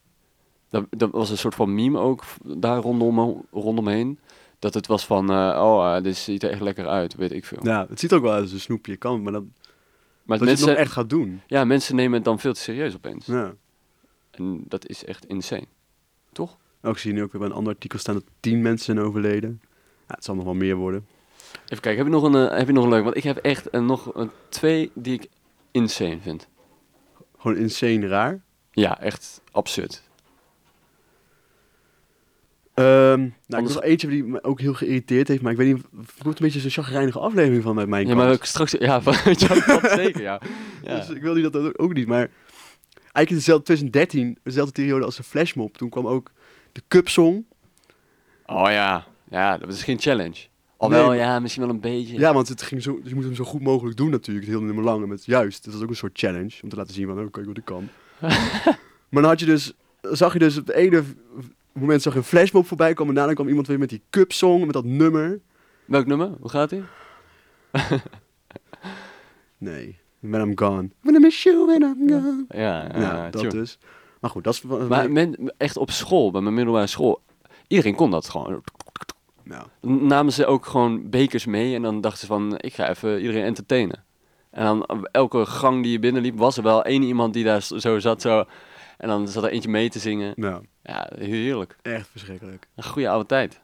Dat, dat was een soort van meme ook v- daar rondom, rondomheen. Dat het was van, eh, oh, eh, dit ziet er echt lekker uit, weet ik veel.
Ja, het ziet ook wel uit als een snoepje kan, maar dat,
maar
dat je het
mensen,
nog echt gaat doen.
ja, mensen nemen het dan veel te serieus opeens.
Ja.
En dat is echt insane. Toch?
Ook Oh, zie je nu ook weer bij een ander artikel staan dat tien mensen zijn overleden. Ja, het zal nog wel meer worden.
Even kijken, heb je nog een, eh, heb je nog een leuk? Want ik heb echt eh, nog eh, twee die ik insane vind.
Gewoon insane raar.
Ja, echt absurd.
Ehm nou, ik
Anders-
was eentje die me ook heel geïrriteerd heeft, maar ik weet niet, het komt een beetje zo'n chagrijnige aflevering van bij mijn
Ja,
kant.
maar ook straks... Ja, van, ja, dat zeker, ja. ja.
Dus ik wilde dat ook- ook niet, maar eigenlijk in dezelfde 2013, dezelfde periode als de flashmob, toen kwam ook de Cup Song.
Oh ja, ja, dat is geen challenge. Alhoewel,
maar-
ja, misschien wel een beetje.
Ja, want het ging zo, dus je moet hem zo goed mogelijk doen natuurlijk, het hele nummer lang en met juist. dus Dat was ook een soort challenge, om te laten zien van, oh, kijk wat ik kan. maar dan had je dus, zag je dus op het ene v- moment zag je een flashmob voorbij komen en daarna kwam iemand weer met die Cup Song, met dat nummer.
Welk nummer? Hoe gaat die?
Nee, When I'm Gone. When I miss you, when I'm gone.
Ja, ja,
Ja, dat
tune.
dus. Maar goed, dat is... van-
Eh, Maar men, echt op school, bij mijn middelbare school, iedereen kon dat gewoon.
nou,
Namen ze ook gewoon bekers mee en dan dachten ze van, ik ga even iedereen entertainen. En dan eh, elke gang die je binnenliep, was er wel één iemand die daar s- zo zat zo. En dan zat er eentje mee te zingen.
nou,
Ja, heerlijk.
echt verschrikkelijk.
Een goede oude tijd.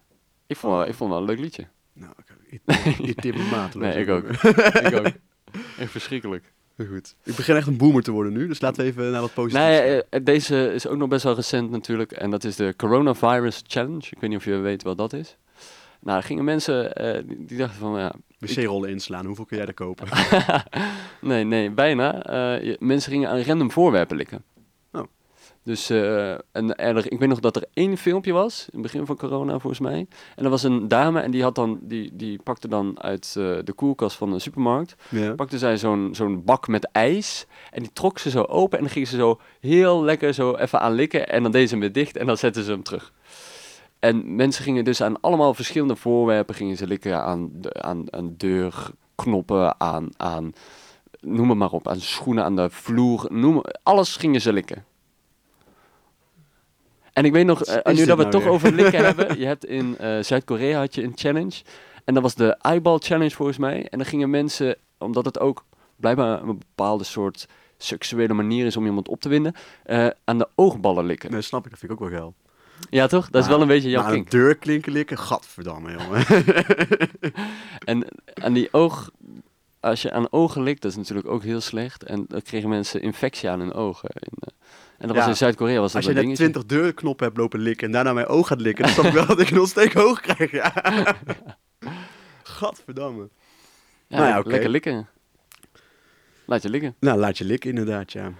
Ik vond, wel- ik vond wel een leuk liedje.
Nou, ik, ik, ik tip het mateloos.
Nee, ik ook. ik ook. Echt verschrikkelijk.
Goed. Ik begin echt een boomer te worden nu, dus laten we even naar wat positiefs.
Nee,
gaan.
eh, deze is ook nog best wel recent natuurlijk. En dat is de Coronavirus Challenge. Ik weet niet of je weet wat dat is. Nou, er gingen mensen eh, die, die dachten van, ja...
Wc-rollen inslaan, hoeveel kun jij daar kopen?
nee, nee, bijna. Eh, je- mensen gingen aan random voorwerpen likken.
Oh.
Dus, eh, en er, ik weet nog dat er één filmpje was, in het begin van corona volgens mij. En er was een dame en die, had dan, die, die pakte dan uit eh, de koelkast van de supermarkt...
ja.
pakte zij zo'n zo'n bak met ijs en die trok ze zo open en dan ging ze zo heel lekker zo even aan likken en dan deed ze hem weer dicht en dan zette ze hem terug. En mensen gingen dus aan allemaal verschillende voorwerpen gingen ze likken aan, de, aan, aan deurknoppen, aan, aan noem het maar op, aan schoenen, aan de vloer, noem, alles gingen ze likken. En ik weet nog,
Wat
eh,
is
nu
dit
dat
nou
we het toch
weer?
over likken hebben, je hebt in eh, Zuid-Korea had je een challenge en dat was de eyeball challenge volgens mij. En dan gingen mensen, omdat het ook blijkbaar een bepaalde soort seksuele manier is om iemand op te winden, eh, aan de oogballen likken.
Nee, snap ik, dat vind ik ook wel geil.
Ja toch? Dat is
Maar-
wel een beetje jouw
maar aan
kink.
de deur klinken likken, gadverdamme, jongen.
En aan die oog, als je aan ogen likt, dat is natuurlijk ook heel slecht. En dan kregen mensen infectie aan hun ogen. En, eh, en dat was
Ja.
in Zuid-Korea was dat
Als je
een
net
dingetje.
20 deurknoppen hebt lopen likken en daarna mijn oog gaat likken, dan snap ik wel dat ik een ontsteek hoog krijg. Ja. Gadverdamme.
Ja,
Nou ja, oké.
Lekker likken. Laat je likken.
Nou, laat je likken inderdaad, ja.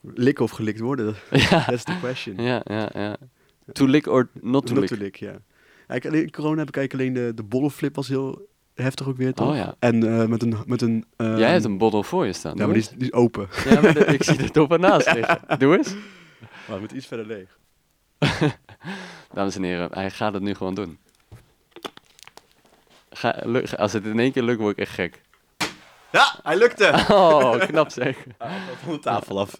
Likken of gelikt worden, dat-
ja,
that's the question.
ja, ja, ja. To lick or not to lick.
Natuurlijk, ja. ja ik, alleen- corona heb ik eigenlijk alleen de, de bollenflip was heel heftig ook weer, toch?
Oh ja.
En eh, met een... Met een eh,
Jij hebt een bottle voor je staan.
Ja, maar die
doe
is, die is open.
eens. Ja, maar de- ik zie er toch van naast liggen. Doe eens.
Maar met iets verder leeg.
Dames en heren, hij gaat het nu gewoon doen. Ga, luk- als het in één keer lukt, word ik echt gek.
Ja, hij lukte!
Oh, knap zeg.
Van de tafel af.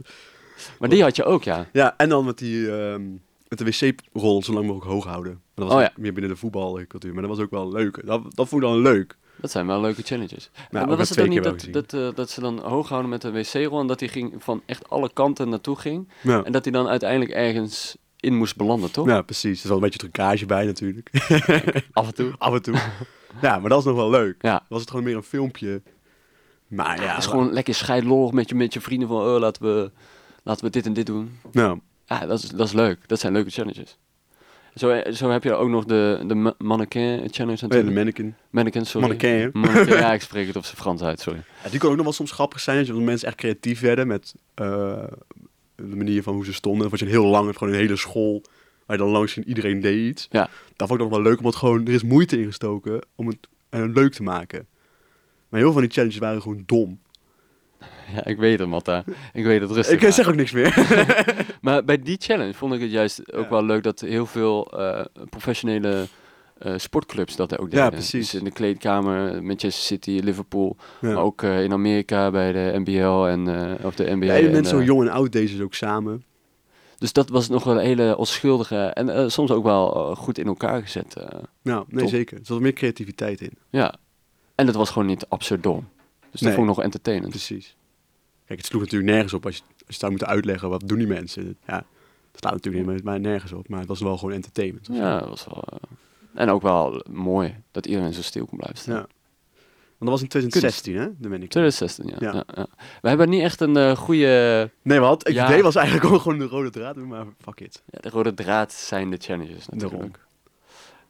Maar die had je ook, ja.
Ja, en dan met die... ehm, met de wc-rol zo lang mogelijk hoog houden. Maar dat was
Oh ja.
meer binnen de voetbalcultuur. Maar dat was ook wel leuk. Dat, dat vond ik dan leuk.
Dat zijn wel leuke challenges.
Nou,
maar
ook dat
was het ook
twee
niet
keer
dat,
wel
dat, eh, dat ze dan hoog houden met de wc-rol en dat hij ging van echt alle kanten naartoe ging
Ja,
en dat hij dan uiteindelijk ergens in moest belanden, toch?
ja precies. Er zat een beetje trucage bij natuurlijk.
Af en toe.
Af en toe. ja, maar dat is nog wel leuk.
Ja.
Was het gewoon meer een filmpje. Maar ja,
het is gewoon lekker scheidlollig met je, met je vrienden van, oh, laten we, laten we dit en dit doen.
Nou,
Ja, dat is, dat is leuk. Dat zijn leuke challenges. Zo, eh, zo heb je ook nog de, de ma- mannequin challenge
oh ja, de
natuurlijk.
mannequin.
mannequin, sorry.
Mannequin, hè?
Mannequin, ja, ik spreek het op zijn Frans uit, sorry.
Ja, die kon ook nog wel soms grappig zijn, dat je- want mensen echt creatief werden met eh, de manier van hoe ze stonden. Of als je een heel lang hebt, gewoon een hele school, waar je dan langs ging, iedereen deed iets.
Ja.
Dat vond ik dan nog wel leuk, omdat gewoon, er is moeite ingestoken om het eh, leuk te maken. Maar heel veel van die challenges waren gewoon dom.
Ja, ik weet het, Matta. Ik weet het rustig.
Ik eh,
maar.
zeg ook niks meer.
Maar bij die challenge vond ik het juist ook
Ja.
wel leuk dat heel veel eh, professionele eh, sportclubs dat ook
Ja,
deden.
precies.
Dus in de kleedkamer, Manchester City, Liverpool.
Ja.
Maar ook eh, in Amerika bij de NBL en eh, of de NBA.
Ja,
en,
mensen zo
eh,
jong en oud deze is ook samen.
dus dat was nog wel een hele onschuldige en eh, soms ook wel eh, goed in elkaar gezet. eh.
Nou, nee
Top.
zeker. Er zat meer creativiteit in.
ja. En dat was gewoon niet absurd dom. Dus dat
Nee.
vond ik nog entertainend.
Precies. Kijk, het sloeg natuurlijk nergens op als je, als je het zou moeten uitleggen wat doen die mensen. Ja, dat staat natuurlijk niet, maar nergens op. Maar het was wel gewoon entertainment. of zo.
ja, dat was wel... eh, en ook wel mooi dat iedereen zo stil kon blijven staan.
Ja. Want dat was in 2016, hè? Dan ben ik.
2016, ja.
Ja.
ja. ja. We hebben niet echt een eh, goede...
Nee, maar het
Ja.
idee was eigenlijk ook gewoon de rode draad, maar fuck it.
Ja, de rode draad zijn de challenges
Daarom.
natuurlijk.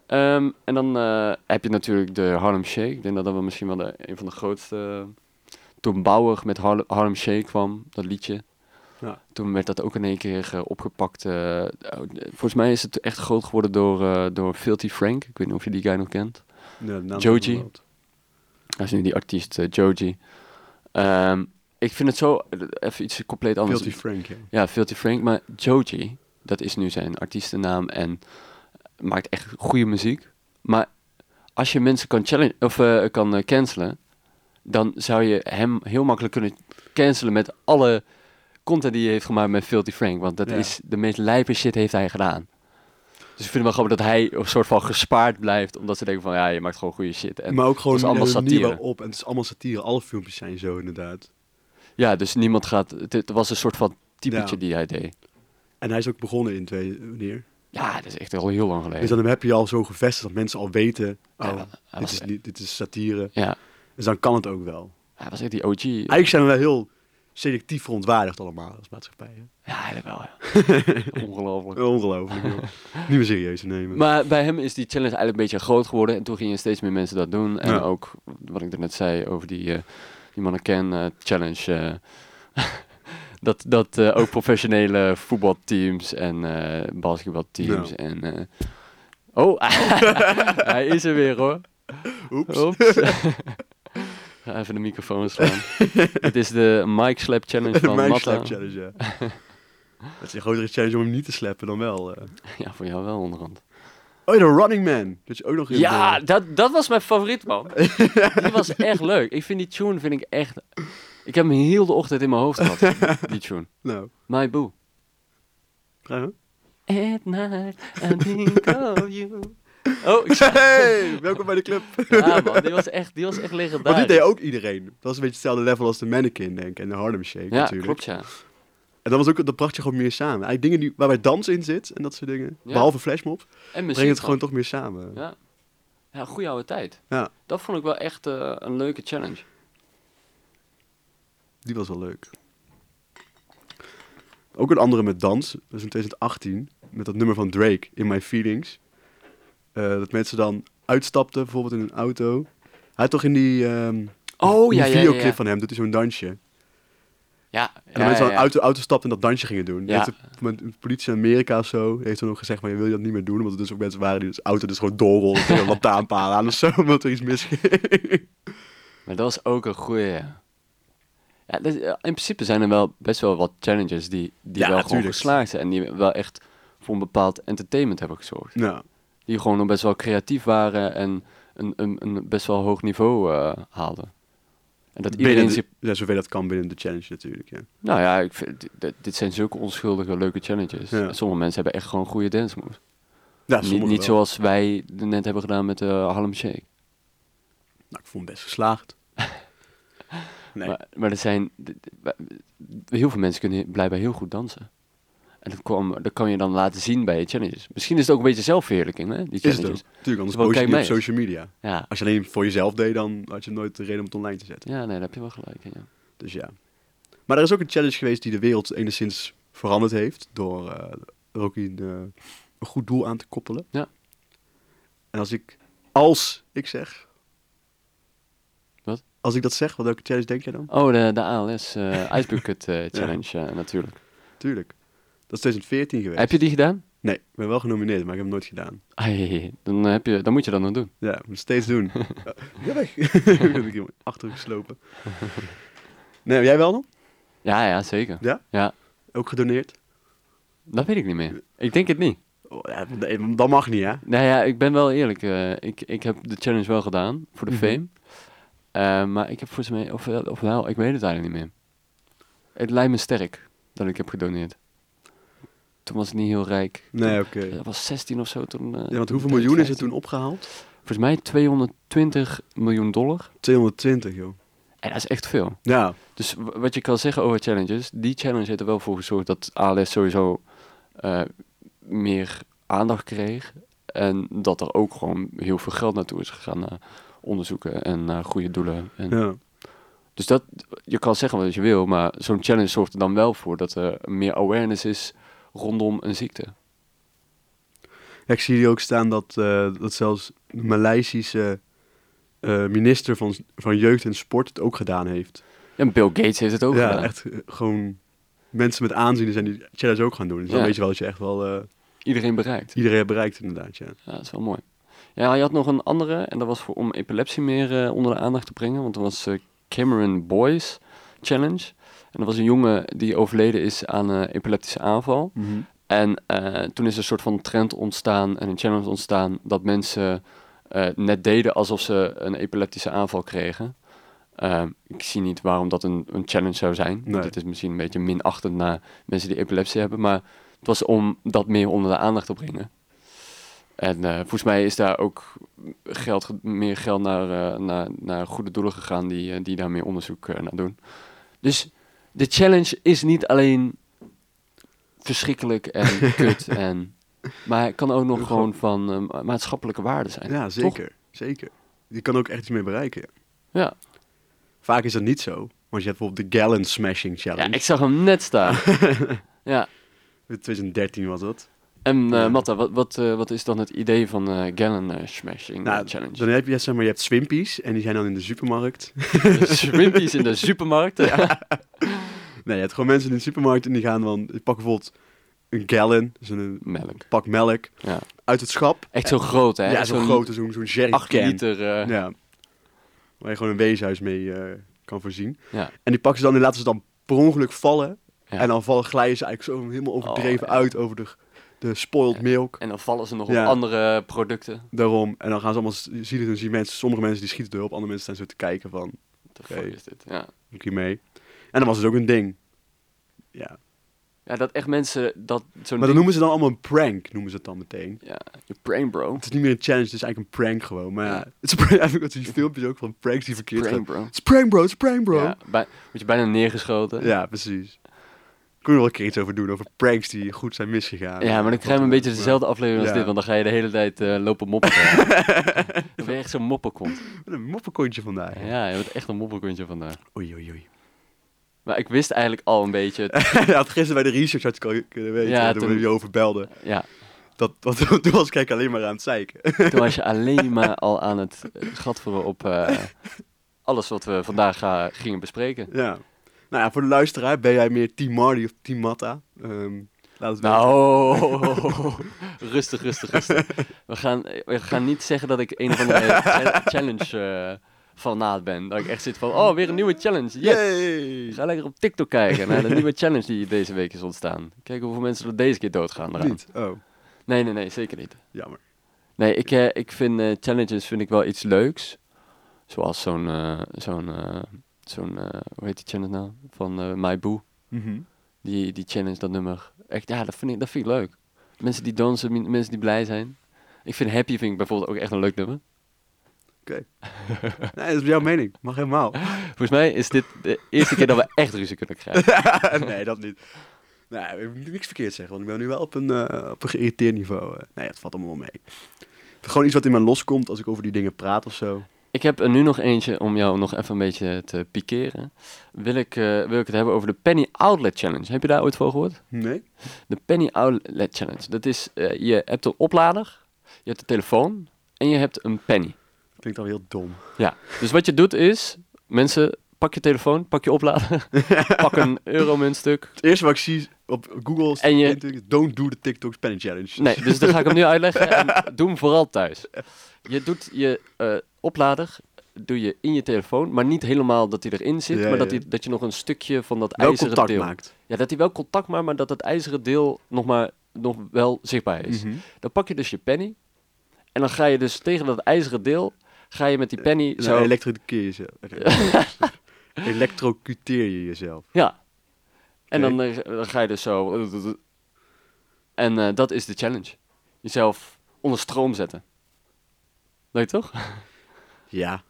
Ehm, en dan eh, heb je natuurlijk de Harlem Shake. Ik denk dat dat wel misschien wel de, een van de grootste... eh, Toen Bauer met Harle- Harlem Shake kwam, dat liedje.
Ja.
Toen werd dat ook in één keer eh, opgepakt. eh, oh, eh, volgens mij is het echt groot geworden door, eh door Filthy Frank. Ik weet niet of je die guy nog kent.
Nee, de naam is
Joji.
van de wereld.
Hij is nu die artiest, eh, Joji. Ehm, ik vind het zo... eh, Even iets compleet anders.
Guilty Frank, ja.
Ja, Filthy Frank. Maar Joji, dat is nu zijn artiestennaam en eh, maakt echt goede muziek. Maar als je mensen kan, challenge, of, eh, kan eh, cancelen, dan zou je hem heel makkelijk kunnen cancelen met alle content die hij heeft gemaakt met Filthy Frank. Want dat
Ja.
is de meest lijpe shit heeft hij gedaan. Dus ik vind het wel grappig dat hij een soort van gespaard blijft. Omdat ze denken van, ja, je maakt gewoon goede shit. En
maar ook gewoon
het is allemaal
de manier
satire.
waarop. En het is allemaal satire. Alle filmpjes zijn zo, inderdaad.
Ja, dus niemand gaat... Het, het was een soort van typetje
Ja.
die hij deed.
En hij is ook begonnen in twee wanneer.
Ja, dat is echt al heel lang geleden.
Dus dan heb je al zo gevestigd dat mensen al weten,
Ja,
oh,
hij
dit,
was-
is niet, dit is satire.
Ja,
Dus dan kan het ook wel.
hij was echt die OG.
Eigenlijk zijn we wel heel selectief verontwaardigd allemaal als maatschappij. hè.
Ja, eigenlijk wel. Ja. Ongelooflijk.
Ongelooflijk. joh. niet meer serieus te nemen.
Maar bij hem is die challenge eigenlijk een beetje groot geworden. En toen gingen steeds meer mensen dat doen. En
Ja.
ook wat ik net zei over die, eh, die mannequin eh, challenge. eh, dat dat eh, ook professionele voetbalteams en eh, basketbalteams.
Ja.
En, eh, oh, hij is er weer hoor.
Oeps.
Oeps. Ga even de microfoon slaan. Dit is de Mike Slap Challenge
De
van
Mike
Matta.
Slap Challenge, ja. Dat is een grotere challenge om hem niet te slappen dan wel. eh.
Ja, voor jou wel onderhand.
Oh, de Running Man. Dat je ook nog in
Ja,
de-
dat, dat was mijn favoriet, man. Die was echt leuk. Ik vind die tune vind ik echt... Ik heb hem heel de ochtend in mijn hoofd gehad, die tune.
Nou,
My Boo.
ga je?
At night, I think of you. Oh, ik...
Hey, welkom bij de club.
ja, man, die was echt, die was echt
Want
legendarisch.
dit deed ook iedereen. Dat was een beetje hetzelfde level als de Mannequin, denk ik. En de Harlem Shake
Ja,
natuurlijk.
klopt, ja.
En dat, was ook, dat bracht je gewoon meer samen. Eigenlijk dingen die, waarbij dans in zit en dat soort dingen.
Ja.
Behalve flashmob.
En
Breng
muziek.
het gewoon toch meer samen.
Ja. ja, goede oude tijd.
Ja.
Dat vond ik wel echt eh, een leuke challenge.
Die was wel leuk. Ook een andere met dans. Dat is in 2018. Met dat nummer van Drake, In My Feelings. Eh, dat mensen dan uitstapten, bijvoorbeeld in een auto. Hij had toch in die, ehm
Oh,
die
ja, ja, ja,
videoclip
ja.
van hem, doet hij zo'n dansje. En
Ja,
dan mensen dan uit de auto stapten en dat dansje gingen doen.
Ja.
Heeft de, met de politie in Amerika of zo heeft toen ook gezegd, maar je wil je dat niet meer doen. Omdat er dus ook mensen waren die dus auto dus gewoon doorrollen tegen een lantaarnpaal aan of zo. Omdat er iets misging.
Maar dat was ook een goeie, ja. Ja, dat- in principe zijn er wel best wel wat challenges die, die
Ja,
wel gewoon
tuurlijk.
geslaagd zijn. En die wel echt voor een bepaald entertainment hebben gezorgd.
nou,
Die gewoon nog best wel creatief waren en een, een, een best wel hoog niveau eh, haalden. En dat
binnen
iedereen
de-
zich...
ja, zover dat kan binnen de challenge natuurlijk, ja.
Nou ja, ik vind, dit, dit zijn zulke onschuldige leuke challenges.
Ja.
En Sommige mensen hebben echt gewoon goede dance moves.
ja
niet
sommigen
niet
wel.
zoals wij net hebben gedaan met de Harlem Shake.
Nou, ik vond hem best geslaagd. Nee.
Maar, maar er zijn... d- d- wa- Heel veel mensen kunnen he- blijkbaar heel goed dansen. En dat, kwam, dat kan je dan laten zien bij je challenges. Misschien is het ook een beetje zelfverheerlijking, hè? Die
is het ook.
challenges.
Tuurlijk, anders
Wel,
post je
kijk
het niet op
mij eens.
social media.
Ja.
Als je alleen voor jezelf deed, dan had je nooit de reden om het online te zetten.
ja, nee, daar heb je wel gelijk in, ja.
Dus ja. Maar er is ook een challenge geweest die de wereld enigszins veranderd heeft. Door eh, er ook een, eh, een goed doel aan te koppelen.
Ja.
En als ik, als ik zeg...
Wat?
Als ik dat zeg, wat welke challenge denk jij dan?
Oh, de, de ALS eh Ice Bucket eh, Challenge, ja, natuurlijk.
Tuurlijk. Dat is 2014 geweest.
Heb je die gedaan?
Nee, ik ben wel genomineerd, maar ik heb het nooit gedaan.
Ai, dan, heb je, dan moet je dat nog doen.
Ja, ik moet het steeds doen. Ja, Ga weg. ik ben ik helemaal achtergeslopen. Nee, jij wel nog?
Ja, ja, zeker.
Ja?
Ja,
Ook gedoneerd?
dat weet ik niet meer. Ik denk het niet.
Oh, ja, nee, dat mag niet, hè?
Nou ja, ik ben wel eerlijk. eh, ik, ik heb de challenge wel gedaan voor de
Mhm.
fame. Eh, maar ik heb volgens mij, of, wel- of wel, ik weet het eigenlijk niet meer. Het lijkt me sterk dat ik heb gedoneerd. Toen was ik niet heel rijk.
Nee, oké.
Dat was 16 of zo toen.
Ja,
eh,
want
toen
hoeveel
deed ik
miljoen is er
15.
toen opgehaald?
Volgens mij 220 miljoen dollar.
220, joh.
En dat is echt veel.
Ja,
Dus w- wat je kan zeggen over challenges, die challenge heeft er wel voor gezorgd dat ALS sowieso eh, meer aandacht kreeg. En dat er ook gewoon heel veel geld naartoe is gegaan naar onderzoeken en naar goede doelen. En
ja.
Dus dat, je kan zeggen wat je wil, maar zo'n challenge zorgt er dan wel voor dat er meer awareness is rondom een ziekte.
Ja, ik zie hier ook staan dat, eh, dat zelfs de Maleisische eh, minister van, van Jeugd en Sport het ook gedaan heeft.
En Bill Gates heeft het ook
ja,
gedaan.
echt eh, gewoon mensen met aanzien die zijn die challenge ook gaan doen. Dus dan
Ja.
weet je wel dat je echt wel eh,
Iedereen bereikt.
iedereen hebt bereikt inderdaad, ja.
Ja, dat is wel mooi. Ja, je had nog een andere, en dat was voor, om epilepsie meer eh, onder de aandacht te brengen. Want dat was eh, Cameron Boys Challenge. En dat was een jongen die overleden is aan een epileptische aanval. En eh, toen is er een soort van trend ontstaan en een challenge ontstaan dat mensen eh, net deden alsof ze een epileptische aanval kregen. Ehm, ik zie niet waarom dat een, een challenge zou zijn.
Nee.
Dit is misschien een beetje minachtend naar mensen die epilepsie hebben, maar het was om dat meer onder de aandacht te brengen. En eh, volgens mij is daar ook geld, ge- meer geld naar, eh, naar, naar goede doelen gegaan die, eh, die daar meer onderzoek eh, naar doen. Dus de challenge is niet alleen verschrikkelijk en kut. En, maar het kan ook nog gewoon van eh, ma- maatschappelijke waarde zijn.
Ja,
toch?
zeker. Zeker. Je kan ook echt iets mee bereiken. ja.
Ja.
Vaak is dat niet zo. Want je hebt bijvoorbeeld de Gallon Smashing Challenge.
ja, ik zag hem net staan. ja.
In 2013 was dat.
En eh,
Ja.
Matta, wat, wat, eh, wat is dan het idee van eh Gallon eh, Smashing eh,
Nou,
Challenge?
dan heb je, zeg maar, je hebt Swimpies en die zijn dan in de supermarkt.
Swimpies in de supermarkt. Ja.
nee, je hebt gewoon mensen in de supermarkt en die gaan dan, die pakken bijvoorbeeld een gallon, dus een
Melk.
pak melk,
Ja.
uit het schap.
Echt zo groot, hè?
ja, zo'n grote, zo'n zo'n
8
jerrycan.
Eh, liter. eh, ja.
Ja. Waar je gewoon een weeshuis mee eh, kan voorzien. En die pakken ze dan en laten ze dan per ongeluk vallen.
Ja.
En dan vallen, glijden ze eigenlijk zo helemaal overdreven
Oh, ja.
uit over de, de spoiled milk.
En dan vallen ze nog
Ja.
op andere producten.
Daarom. En dan gaan ze allemaal, je ziet het, dan zie je mensen, sommige mensen die schieten erop, andere mensen staan zo te kijken van,
What the fuck
Oké.
is dit? Ja.
doe ik hier mee? En dan was het ook een ding. Ja.
ja, dat echt mensen dat zo'n
Maar dan
ding-
noemen ze dan allemaal een prank, noemen ze het dan meteen.
Ja, je brain bro.
Het is niet meer een challenge, het is eigenlijk een prank gewoon. Maar ja,
Ja.
het is een prank. Eigenlijk dat die filmpjes ook van pranks die verkeerd gaan.
Brain bro.
Het is prank bro, het is prank bro.
Ja, bij, word je bijna neergeschoten.
Ja, precies. Ik kon er wel een keer iets over doen, over pranks die goed zijn misgegaan.
Ja, maar dan krijg je een beetje dezelfde aflevering als
Ja.
dit, want dan ga je de hele tijd eh, lopen moppen. dan ben je echt zo'n mopperkont.
Wat een moppenkontje vandaag. hè.
Ja, je bent echt een mopperkontje vandaag.
Oei, oei, oei.
Maar ik wist eigenlijk al een beetje, het-
ja, had gisteren bij de research had ik al kunnen weten,
Ja,
toen
toen-
we je over belden.
ja,
Dat, want toen was ik eigenlijk alleen maar aan het zeiken.
toen was je alleen maar al aan het eh, gatvullen op eh, alles wat we vandaag ga- gingen bespreken.
ja. Nou ja, voor de luisteraar, ben jij meer Team Marty of Team Matta? Ehm, laat het weten.
Nou, rustig, rustig, rustig. We gaan, we gaan niet zeggen dat ik een of andere cha- challenge eh, fanaat ben. Dat ik echt zit van, oh, weer een nieuwe challenge. Yes!
Yay!
Ga lekker op TikTok kijken naar de nieuwe challenge die deze week is ontstaan. Kijken hoeveel mensen er deze keer doodgaan. eraan.
Niet. Oh,
Nee, nee, nee, zeker niet.
jammer.
Nee, ik, eh, ik vind eh, challenges vind ik wel iets leuks. Zoals zo'n, eh, zo'n, eh, zo'n eh, hoe heet die challenge nou? Van eh My Boo.
Mhm.
Die, die challenge, dat nummer. Echt, ja, dat vind ik, dat vind ik leuk. Mensen die dansen, mi- mensen die blij zijn. Ik vind Happy vind ik bijvoorbeeld ook echt een leuk nummer.
Nee, dat is jouw mening. Mag helemaal.
Volgens mij is dit de eerste keer dat we echt ruzie kunnen krijgen.
nee, dat niet. Nee, ik moet niks verkeerd zeggen, want ik ben nu wel op een, eh, op een geïrriteerd niveau. eh. nee, het valt allemaal wel mee. Het is gewoon iets wat in me loskomt als ik over die dingen praat of zo.
Ik heb er nu nog eentje om jou nog even een beetje te pikeren. Wil ik, eh, wil ik het hebben over de Penny Outlet Challenge. Heb je daar ooit van gehoord?
Nee?
De Penny Outlet Challenge. Dat is, eh, je hebt een oplader, je hebt een telefoon en je hebt een penny.
Klinkt al heel dom.
Ja, dus wat je doet is, mensen, pak je telefoon, pak je oplader, pak een euromuntstuk.
Het eerste wat ik zie op Google staat
En je-
natuurlijk don't do the TikTok spelling challenge.
Nee, dus dan ga ik hem nu uitleggen. En doe hem vooral thuis. Je doet je eh, oplader doe je in je telefoon, maar niet helemaal dat hij erin zit,
Ja,
maar dat,
ja.
hij, dat je nog een stukje van dat
Wel
ijzeren
contact
deel...
maakt.
Ja, dat hij wel contact maakt, maar dat het ijzeren deel nog, maar, nog wel zichtbaar is.
Mhm.
Dan pak je dus je penny en dan ga je dus tegen dat ijzeren deel, ga je met die penny
En
zo...
dan elektrocuteer je jezelf. Elektrocuteer je jezelf.
Ja. En dan, eh, dan ga je dus zo. En eh, dat is de challenge. Jezelf onder stroom zetten. Leuk toch?
Ja.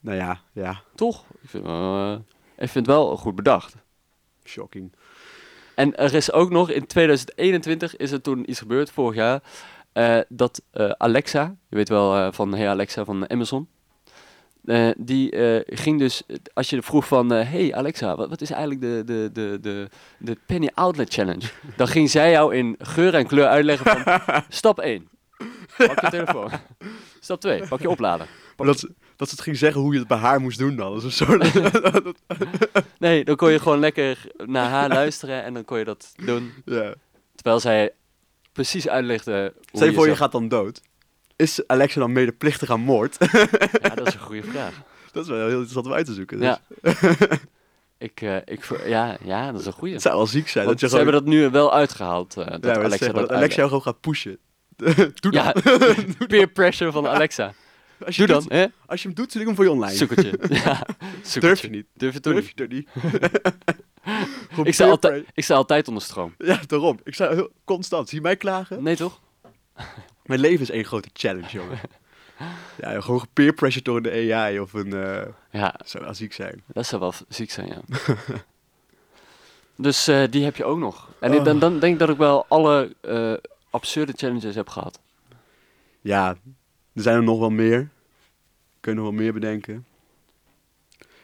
Nou ja, ja.
Toch? Ik vind, wel, eh, ik vind het wel goed bedacht.
Shocking.
En er is ook nog in 2021 is er toen iets gebeurd vorig jaar. eh, dat eh, Alexa, je weet wel eh, van Hey Alexa van Amazon. eh, die eh, ging dus, eh, als je vroeg van, eh, hey Alexa, wat, wat is eigenlijk de, de, de, de, de Penny Outlet Challenge? Dan ging zij jou in geur en kleur uitleggen van, stap 1, pak je telefoon. Stap 2, pak je oplader.
Maar dat, ze- dat ze het ging zeggen hoe je het bij haar moest doen dan. Dat is een soort...
Nee, dan kon je gewoon lekker naar haar luisteren en dan kon je dat doen.
ja.
Terwijl zij precies uitlegde hoe
Stel je voor, je
zelf-
gaat dan dood. Is Alexa dan medeplichtig aan moord?
Ja, dat is een goede vraag.
dat is wel heel interessant om uit te zoeken. Dus
Ja. Ik, eh, ik, ver- ja, ja, dat is een goede.
Het zou wel ziek zijn.
Want
Dat je
ze
gewoon...
hebben dat nu wel uitgehaald. eh, dat
Ja, maar
Alexa,
zeg maar,
dat Ah,
dat Alexa jou gewoon gaat pushen. Doe dat.
Ja, peer pressure van Alexa.
Als je
Doe dan,
doet-
hè?
als je hem doet, zet ik hem voor je online.
Zoekertje. Ja, zoekertje.
Durf je niet.
Durf je toch
Durf
niet?
je er niet. Gewoon
Ik sta,
peer
altijd, ik sta altijd onder stroom.
pressure. Ja, daarom. Ik sta heel constant. Zie je mij klagen?
Nee, toch?
Mijn leven is één grote challenge, jongen. ja, gewoon gepeer pressure door de AI of een... eh
Ja,
zou wel ziek zijn.
dat zou wel ziek zijn, ja. Dus eh, die heb je ook nog. En
Oh.
ik- dan, dan denk ik dat ik wel alle eh, absurde challenges heb gehad.
Ja, er zijn er nog wel meer. Kunnen we wel meer bedenken.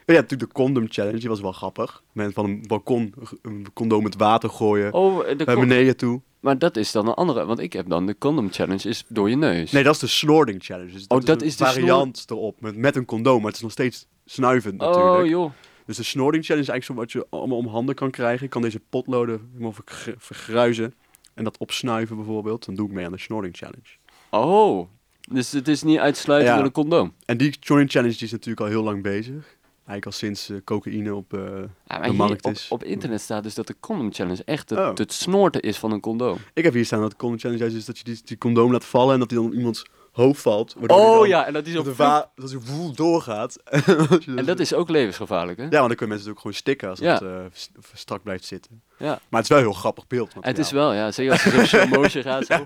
En ja, natuurlijk de condom challenge, die was wel grappig. Men van een balkon een condoom met water gooien
Oh, eh, de
naar
con-
beneden toe.
maar dat is dan een andere. Want ik heb dan de condom challenge is door je neus.
Nee, dat is de snorting challenge. Dus dat,
Oh, dat
is een
is de
variant erop met, met een condoom, maar het is nog steeds snuivend natuurlijk.
Oh joh.
Dus de snorting challenge is eigenlijk zo wat je allemaal om handen kan krijgen. Ik kan deze potloden helemaal vergr- vergruizen en dat opsnuiven bijvoorbeeld. Dan doe ik mee aan de snorting challenge.
Oh, dus het is niet uitsluitend
Ja.
door een condoom.
En die snorting challenge die is natuurlijk al heel lang bezig. Eigenlijk al sinds eh, cocaïne op eh,
Ja, maar
de
hier
markt
op,
is.
op internet staat dus dat de condom challenge echt het,
Oh.
het snoorten is van een condoom.
Ik heb hier staan dat de condom challenge juist is dus dat je die, die condoom laat vallen en dat die dan op iemands hoofd valt. waardoor die
Oh
dan
ja, en dat is
Dat de
ook
va- dat die woel doorgaat.
En dat is ook levensgevaarlijk, hè?
Ja, want dan kunnen mensen natuurlijk gewoon stikken als
Ja.
dat eh, s- strak blijft zitten.
Ja.
Maar het is wel een heel grappig beeld.
En het is wel, ja. Zeker als je zo slow motion gaat. Zo.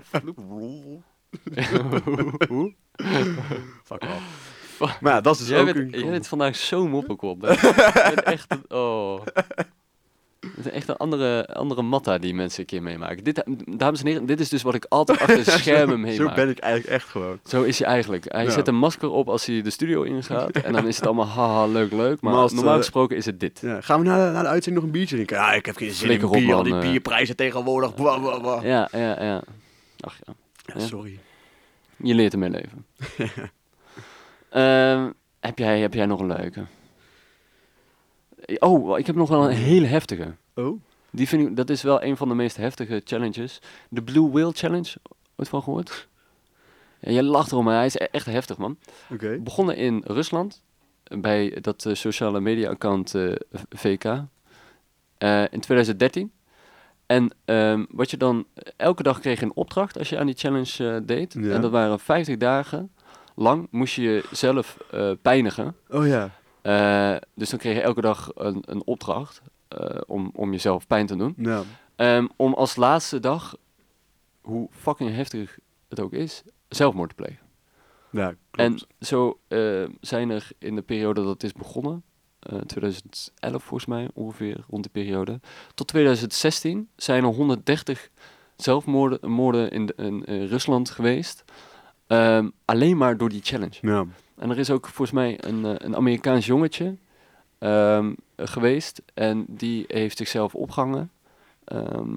Fuck off. Maar ja, dat is dus
Jij,
ook
bent,
een...
jij bent vandaag zo moppenkop. hè. Je bent echt een, oh. Het is echt een andere, andere matta die mensen een keer meemaken. Dit, dames en heren, dit is dus wat ik altijd achter de schermen meemaak.
Zo ben ik eigenlijk echt gewoon.
Zo is hij eigenlijk. Hij
Ja.
zet een masker op als hij de studio ingaat. En dan is het allemaal haha, leuk, leuk. Maar,
Maar als,
normaal
eh,
gesproken is het dit.
Ja, gaan we naar de, naar de uitzending nog een biertje drinken? Ja, ik heb geen zin
Flikker
in
op,
bier. Al
man,
die
eh.
bierprijzen tegenwoordig. Blah, blah, blah.
Ja, ja, ja. Ach ja,
Ja, sorry.
je leert ermee leven. Ehm, heb, jij, heb jij nog een leuke? Oh, ik heb nog wel een hele heftige.
Oh?
Die vind ik, dat is wel een van de meest heftige challenges. De Blue Whale Challenge. Ooit van gehoord? Ja, jij lacht erom, maar hij is e- echt heftig, man.
Oké.
Begonnen in Rusland, bij dat eh, sociale media account eh, v- VK, eh, in 2013. En ehm, wat je dan elke dag kreeg je een opdracht als je aan die challenge eh, deed.
Ja.
En dat waren 50 dagen lang moest je jezelf eh pijnigen.
Oh ja.
Eh, dus dan kreeg je elke dag een, een opdracht eh, om, om jezelf pijn te doen.
Nou,
Ehm, om als laatste dag, hoe fucking heftig het ook is, zelfmoord te plegen.
ja,
En
klopt.
zo eh, zijn er in de periode dat het is begonnen, eh, 2011 volgens mij ongeveer, rond die periode, tot 2016 zijn er 130 zelfmoorden moorden in, de- in, eh, Rusland geweest. Ehm, alleen maar door die challenge.
Ja.
En er is ook volgens mij een, eh, een Amerikaans jongetje ehm, geweest en die heeft zichzelf opgehangen ehm,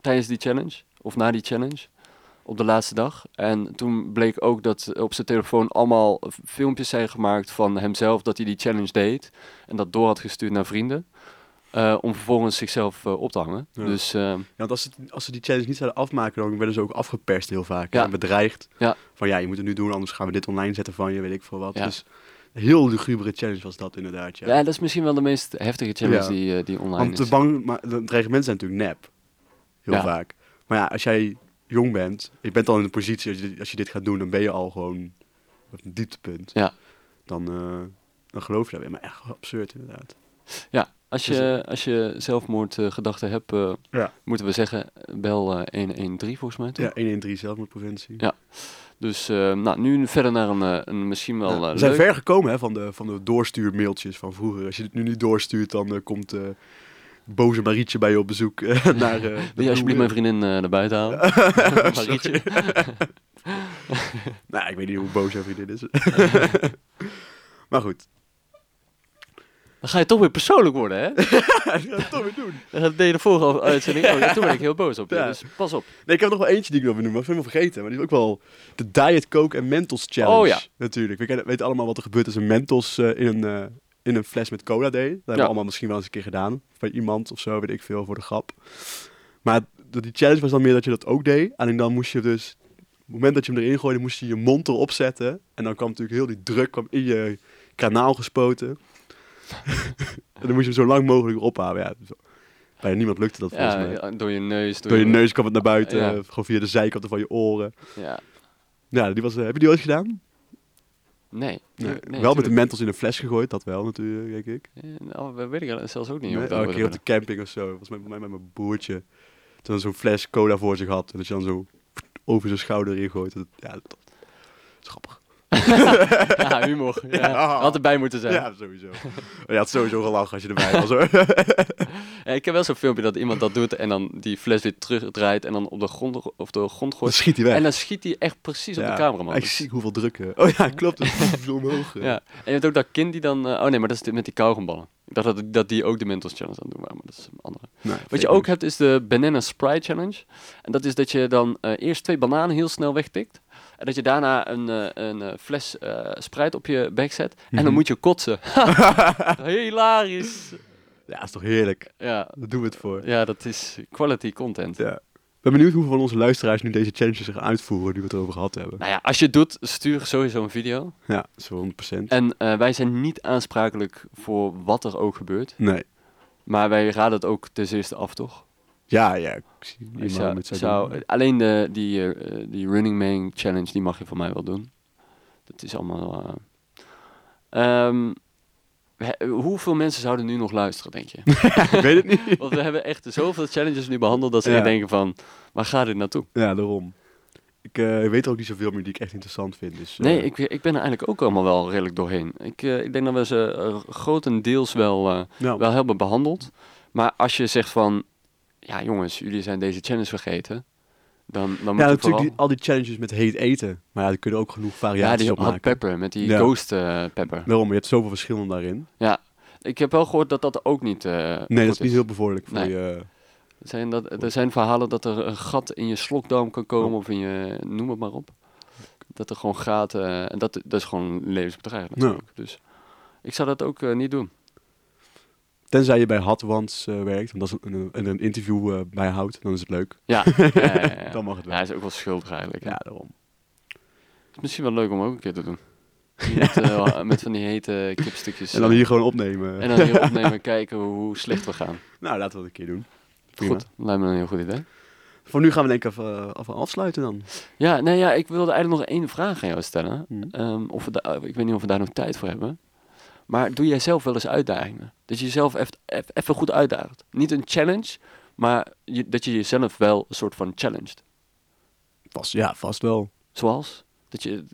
tijdens die challenge, of na die challenge, op de laatste dag. En toen bleek ook dat op zijn telefoon allemaal f- filmpjes zijn gemaakt van hemzelf dat hij die challenge deed en dat door had gestuurd naar vrienden. eh, om vervolgens zichzelf eh, op te hangen.
Ja.
Dus eh,
Ja, want als ze, als ze die challenge niet zouden afmaken, dan werden ze ook afgeperst heel vaak.
Ja.
En bedreigd.
Ja.
Van ja, je moet het nu doen, anders gaan we dit online zetten van je, weet ik veel wat.
Ja.
Dus een heel lugubere challenge was dat inderdaad, ja.
ja. dat is misschien wel de meest heftige challenge
Ja.
die, eh, die online
Want de
is.
bang, maar de dreigementen zijn natuurlijk nep. Heel
Ja.
vaak. Maar ja, als jij jong bent, je bent al in de positie, als je, dit- als je dit gaat doen, dan ben je al gewoon op een dieptepunt.
Ja.
Dan, eh, dan geloof je dat weer. Maar echt absurd inderdaad.
Ja, als
Dus,
je, als je zelfmoordgedachten hebt, eh,
Ja.
moeten we zeggen, bel eh, 113 volgens mij. toch?
Ja, 113 zelfmoordpreventie.
Ja, Dus eh, nou, nu verder naar een, eh, een misschien wel
Ja,
eh,
we zijn
leuk-
ver gekomen hè, van, de, van de doorstuurmailtjes van vroeger. Als je het nu niet doorstuurt, dan eh, komt eh, boze Marietje bij je op bezoek. eh, naar, eh, de
Wil je alsjeblieft mijn
broer.
vriendin eh, naar buiten halen? Marietje.
Nou, ik weet niet hoe boos jouw vriendin is. maar goed.
Dan ga je toch weer persoonlijk worden, hè?
Ja, dat gaan we toch weer doen.
Dat deed je de vorige uitzending ook. En toen ben ik heel boos op je,
Ja.
dus pas op.
Nee, ik heb nog wel eentje die ik wil benoemen, maar ik heb hem vergeten. Maar die is ook wel de Diet Coke en Mentos Challenge.
Oh ja.
Natuurlijk. We kennen- weten allemaal wat er gebeurt als een Mentos eh, in, een, eh, in een fles met cola deed. Dat hebben we
Ja.
allemaal misschien wel eens een keer gedaan. Bij iemand of zo, weet ik veel, voor de grap. Maar de- die challenge was dan meer dat je dat ook deed. Alleen dan moest je dus... Op het moment dat je hem erin gooide, moest je je mond erop zetten. En dan kwam natuurlijk heel die druk kwam in je kanaal gespoten. en dan moest je hem zo lang mogelijk ophouden. Ja, zo- bijna niemand lukte dat volgens
Ja,
mij.
ja, door je neus.
Door je neus kwam het naar buiten,
Ja.
eh, gewoon via de zijkanten van je oren.
Ja.
Ja, die was, eh, heb je die ooit gedaan?
Nee.
Nee,
Nee,
wel met de
tuurlijk.
mentels in een fles gegooid, dat wel natuurlijk, denk ik.
Eh, Nou, dat weet ik eigenlijk zelfs ook niet.
Nee,
of dat
elke
we
keer op de
dat
camping of zo, was met, met, met mijn broertje. Toen zo'n fles cola voor zich had en dat je dan zo over zijn schouder in gooit. Dat, ja, dat, dat is grappig.
kunnen. Ja, humor. Ja.
Ja.
Had erbij moeten zijn.
Ja, sowieso. Maar je had sowieso gelachen als je erbij was hoor.
Ja, Eh, ik heb wel zo'n filmpje dat iemand dat doet en dan die fles weer terugdraait en dan op de grond, ro- of de grond
Dan
gooit.
schiet hij weg.
En dan schiet hij echt precies op
Ja,
de cameraman. dus-
Echt ziek hoeveel drukken. Oh ja, klopt. Het is omhoog. eh.
Ja. En je hebt ook dat kind die dan... eh, oh nee, maar dat is met die kauwgomballen. Ik dacht dat, dat die ook de Mentos Challenge aan het doen waren, maar dat is een andere.
Nee,
Wat je
fake
ook hebt is de Banana Sprite Challenge. En dat is dat je dan eh, eerst twee bananen heel snel wegtikt. En dat je daarna een, eh, een eh, fles eh Sprite op je bek zet.
Mhm.
En dan moet je kotsen. Hilarisch!
news. Ja, is toch heerlijk.
Ja.
Daar doen we het voor.
ja, dat is quality content.
Ja. Ik ben benieuwd hoeveel van onze luisteraars nu deze challenges gaan uitvoeren, die we het erover gehad hebben.
Nou ja, als je het doet, stuur sowieso een video.
Ja, zo 100%.
En eh, wij zijn niet aansprakelijk voor wat er ook gebeurt.
Nee.
Maar wij raden het ook ten eerste af, toch?
Ja, ja. Ik zie
Ik
iemand
zou,
met zijn
zou, alleen de, die, eh, eh, die Running Man Challenge, die mag je van mij wel doen. Dat is allemaal... eh, ehm, we- hoeveel mensen zouden nu nog luisteren, denk je?
Ik weet het niet.
Want we hebben echt zoveel challenges nu behandeld dat ze
Ja.
echt denken van... Waar gaat dit naartoe?
Ja, daarom. Ik eh, weet er ook niet zoveel meer die ik echt interessant vind. Dus, eh,
Nee, ik, ik ben er eigenlijk ook allemaal wel redelijk doorheen. Ik, eh, ik denk dat we ze eh, grotendeels wel... eh,
nou,
wel hebben behandeld. Maar als je zegt van, ja jongens, jullie zijn deze challenge vergeten, dan, dan moet
ja,
je
natuurlijk
vooral...
die, al die challenges met heet eten. Maar ja, er kunnen ook genoeg
ja,
variaties
die
op
hot
maken.
pepper, met die
Ja.
ghost eh, pepper.
Daarom, je hebt zoveel verschillen daarin.
Ja, ik heb wel gehoord dat dat ook niet eh, goed
Nee, dat is niet heel bevorderlijk voor
Nee.
je... eh,
Zijn dat, er zijn verhalen dat er een gat in je slokdarm kan komen, of in je, noem het maar op. Dat er gewoon gaten, eh, en dat, dat is gewoon levensbedreigend
Nou.
natuurlijk. Dus ik zou dat ook eh, niet doen.
Tenzij je bij Hot Ones eh, werkt, en dat is een, een, een interview eh, bij houdt, dan is het leuk.
Ja, ja, ja, ja, ja.
Dan mag het wel.
Hij is ook wel schuldig eigenlijk. hè.
Ja, daarom.
Het is misschien wel leuk om ook een keer te doen. Met, eh, met van die hete kipstukjes.
En dan
eh,
hier gewoon opnemen.
en dan hier opnemen en kijken hoe, hoe slecht we gaan.
Nou, laten we dat een keer doen. Prima.
Goed, lijkt me een heel goed idee.
Voor nu gaan we denk ik even, eh, even afsluiten dan.
Ja, nee, ja, ik wilde eigenlijk nog één vraag aan jou stellen.
Mhm.
Ehm, of we da- eh, ik weet niet of we daar nog tijd voor hebben. Maar doe jij zelf wel eens uitdagingen? Dat je jezelf eft- ef- even goed uitdaagt. Niet een challenge, maar je- dat je jezelf wel een soort van challenged.
Vast, ja, vast wel.
Zoals? Dat je...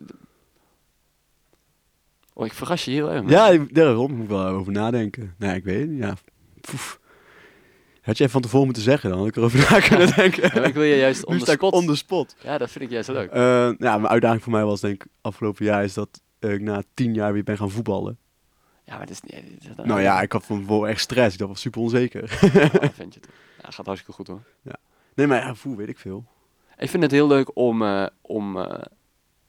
Oh, ik verras je heel erg. man.
Ja, ik- daarom moet ik wel over nadenken. Nee, ik weet het niet. Ja. Poef. Had je even van tevoren moeten zeggen, dan had ik erover na kunnen denken.
Ja, maar ik wil je juist
nu
on the
sta ik
spot.
on the spot.
Ja, dat vind ik juist leuk.
Eh, ja, mijn uitdaging voor mij was denk ik afgelopen jaar is dat ik na tien jaar weer ben gaan voetballen.
Ja, maar dat is niet... dat-
Nou ja, ik had van tevoren echt stress. Ik dacht, was super onzeker.
Ja, vind je het. Ja, gaat hartstikke goed hoor.
Nee, maar ja, voel weet ik veel.
Ik vind het heel leuk om, eh, om eh,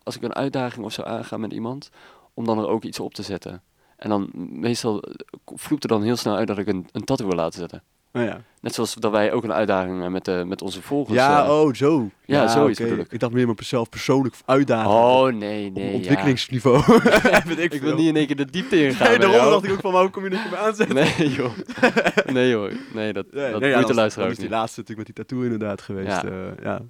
als ik een uitdaging of zo aanga met iemand, om dan er ook iets op te zetten. En dan meestal eh, vloept er dan heel snel uit dat ik een, een tattoo wil laten zetten.
Nou ja.
Net zoals dat wij ook een uitdaging eh, met, eh, met onze volgers.
ja,
eh,
oh, zo.
ja, zoiets
oké.
bedoel ik.
Ik dacht meer mezelf persoonlijk uitdagen.
oh nee,
op
nee. ja.
ontwikkelingsniveau. Weet ik
Ik
veel.
wil niet in één keer de diepte ingaan.
Nee,
bij
daarom
jou.
dacht ik ook van, waarom kom je er niet meer aanzetten?
Nee, joh. Nee, joh. Nee, dat,
Nee,
dat
nee, ja,
moet de
dan-
luisteraar
dan
ook
is die
niet.
laatste natuurlijk met die tattoo inderdaad geweest.
Ja.
Ja. ja.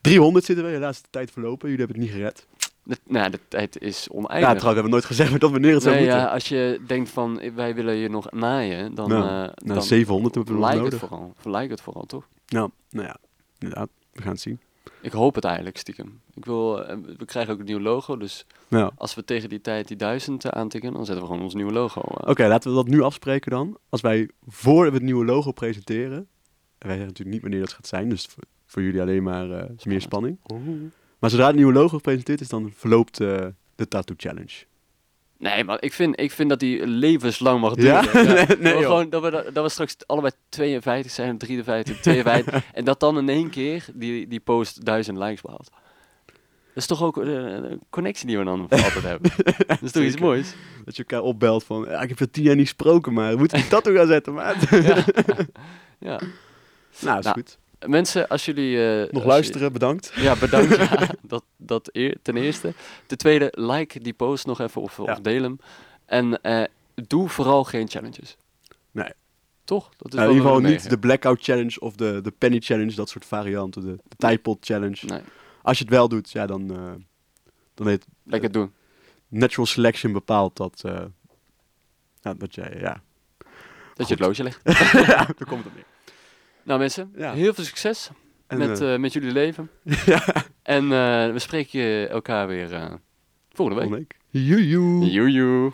300 zitten we, helaas is de tijd verlopen. Jullie hebben het niet gered.
De- nou, de tijd is
ja,
oneindig.
trouwens, we hebben nooit gezegd dat wanneer het zou
nee,
moeten.
ja, als je denkt van, eh, wij willen je nog naaien, dan,
Nou,
eh,
nou,
dan
700 hebben we nog
lijkt het
nodig.
vooral. Lijkt het vooral, toch?
Nou, nou ja, inderdaad. We gaan het zien.
Ik hoop het eigenlijk, stiekem. Ik wil, eh, we krijgen ook een nieuw logo, dus
Nou,
als we tegen die tijd die duizend eh, aantikken, dan zetten we gewoon ons nieuwe logo. eh.
Oké, laten we dat nu afspreken dan. Als wij voor we het nieuwe logo presenteren. En wij zeggen natuurlijk niet wanneer dat gaat zijn, dus voor, voor jullie alleen maar eh, meer spanning.
Oh.
Maar zodra het nieuwe logo gepresenteerd is, dan verloopt eh, de Tattoo Challenge.
Nee, maar ik vind, ik vind dat die levenslang mag duren.
Ja?
Ja?
Nee,
dat, we
nee, joh.
gewoon, dat, we, dat, dat we straks allebei 52 zijn, 53, 52. en dat dan in één keer die, die post duizend likes behaalt. Dat is toch ook eh, een connectie die we dan voor altijd hebben. Dat is toch iets
Zeker.
moois?
Dat je elkaar opbelt van, ja, ik heb je tien jaar niet gesproken, maar we moeten een tattoo gaan zetten, maat.
Ja. ja.
nou, is
Nou,
goed.
Mensen, als jullie... eh, als
Nog
je-
luisteren, bedankt.
ja, bedankt. ja, dat dat eer- ten eerste. Ten tweede, like die post nog even of,
Ja.
of deel hem. En eh, doe vooral geen challenges.
Nee.
Toch? Dat is
Nou,
wel
in ieder geval
een
niet de Blackout Challenge of de, de Penny Challenge, dat soort varianten. De, de Tijpot Challenge.
Nee,
Als je het wel doet, ja, dan, eh, dan heet
lekker doen.
Natural Selection bepaalt dat, eh, nou, dat jij, ja,
Dat je het loodje legt.
daar komt het op neer.
Nou mensen,
Ja.
heel veel succes
En,
met,
eh,
eh, met jullie leven. En eh, we spreken elkaar weer eh, volgende week.
volgende week. Joejoe.
Joejoe.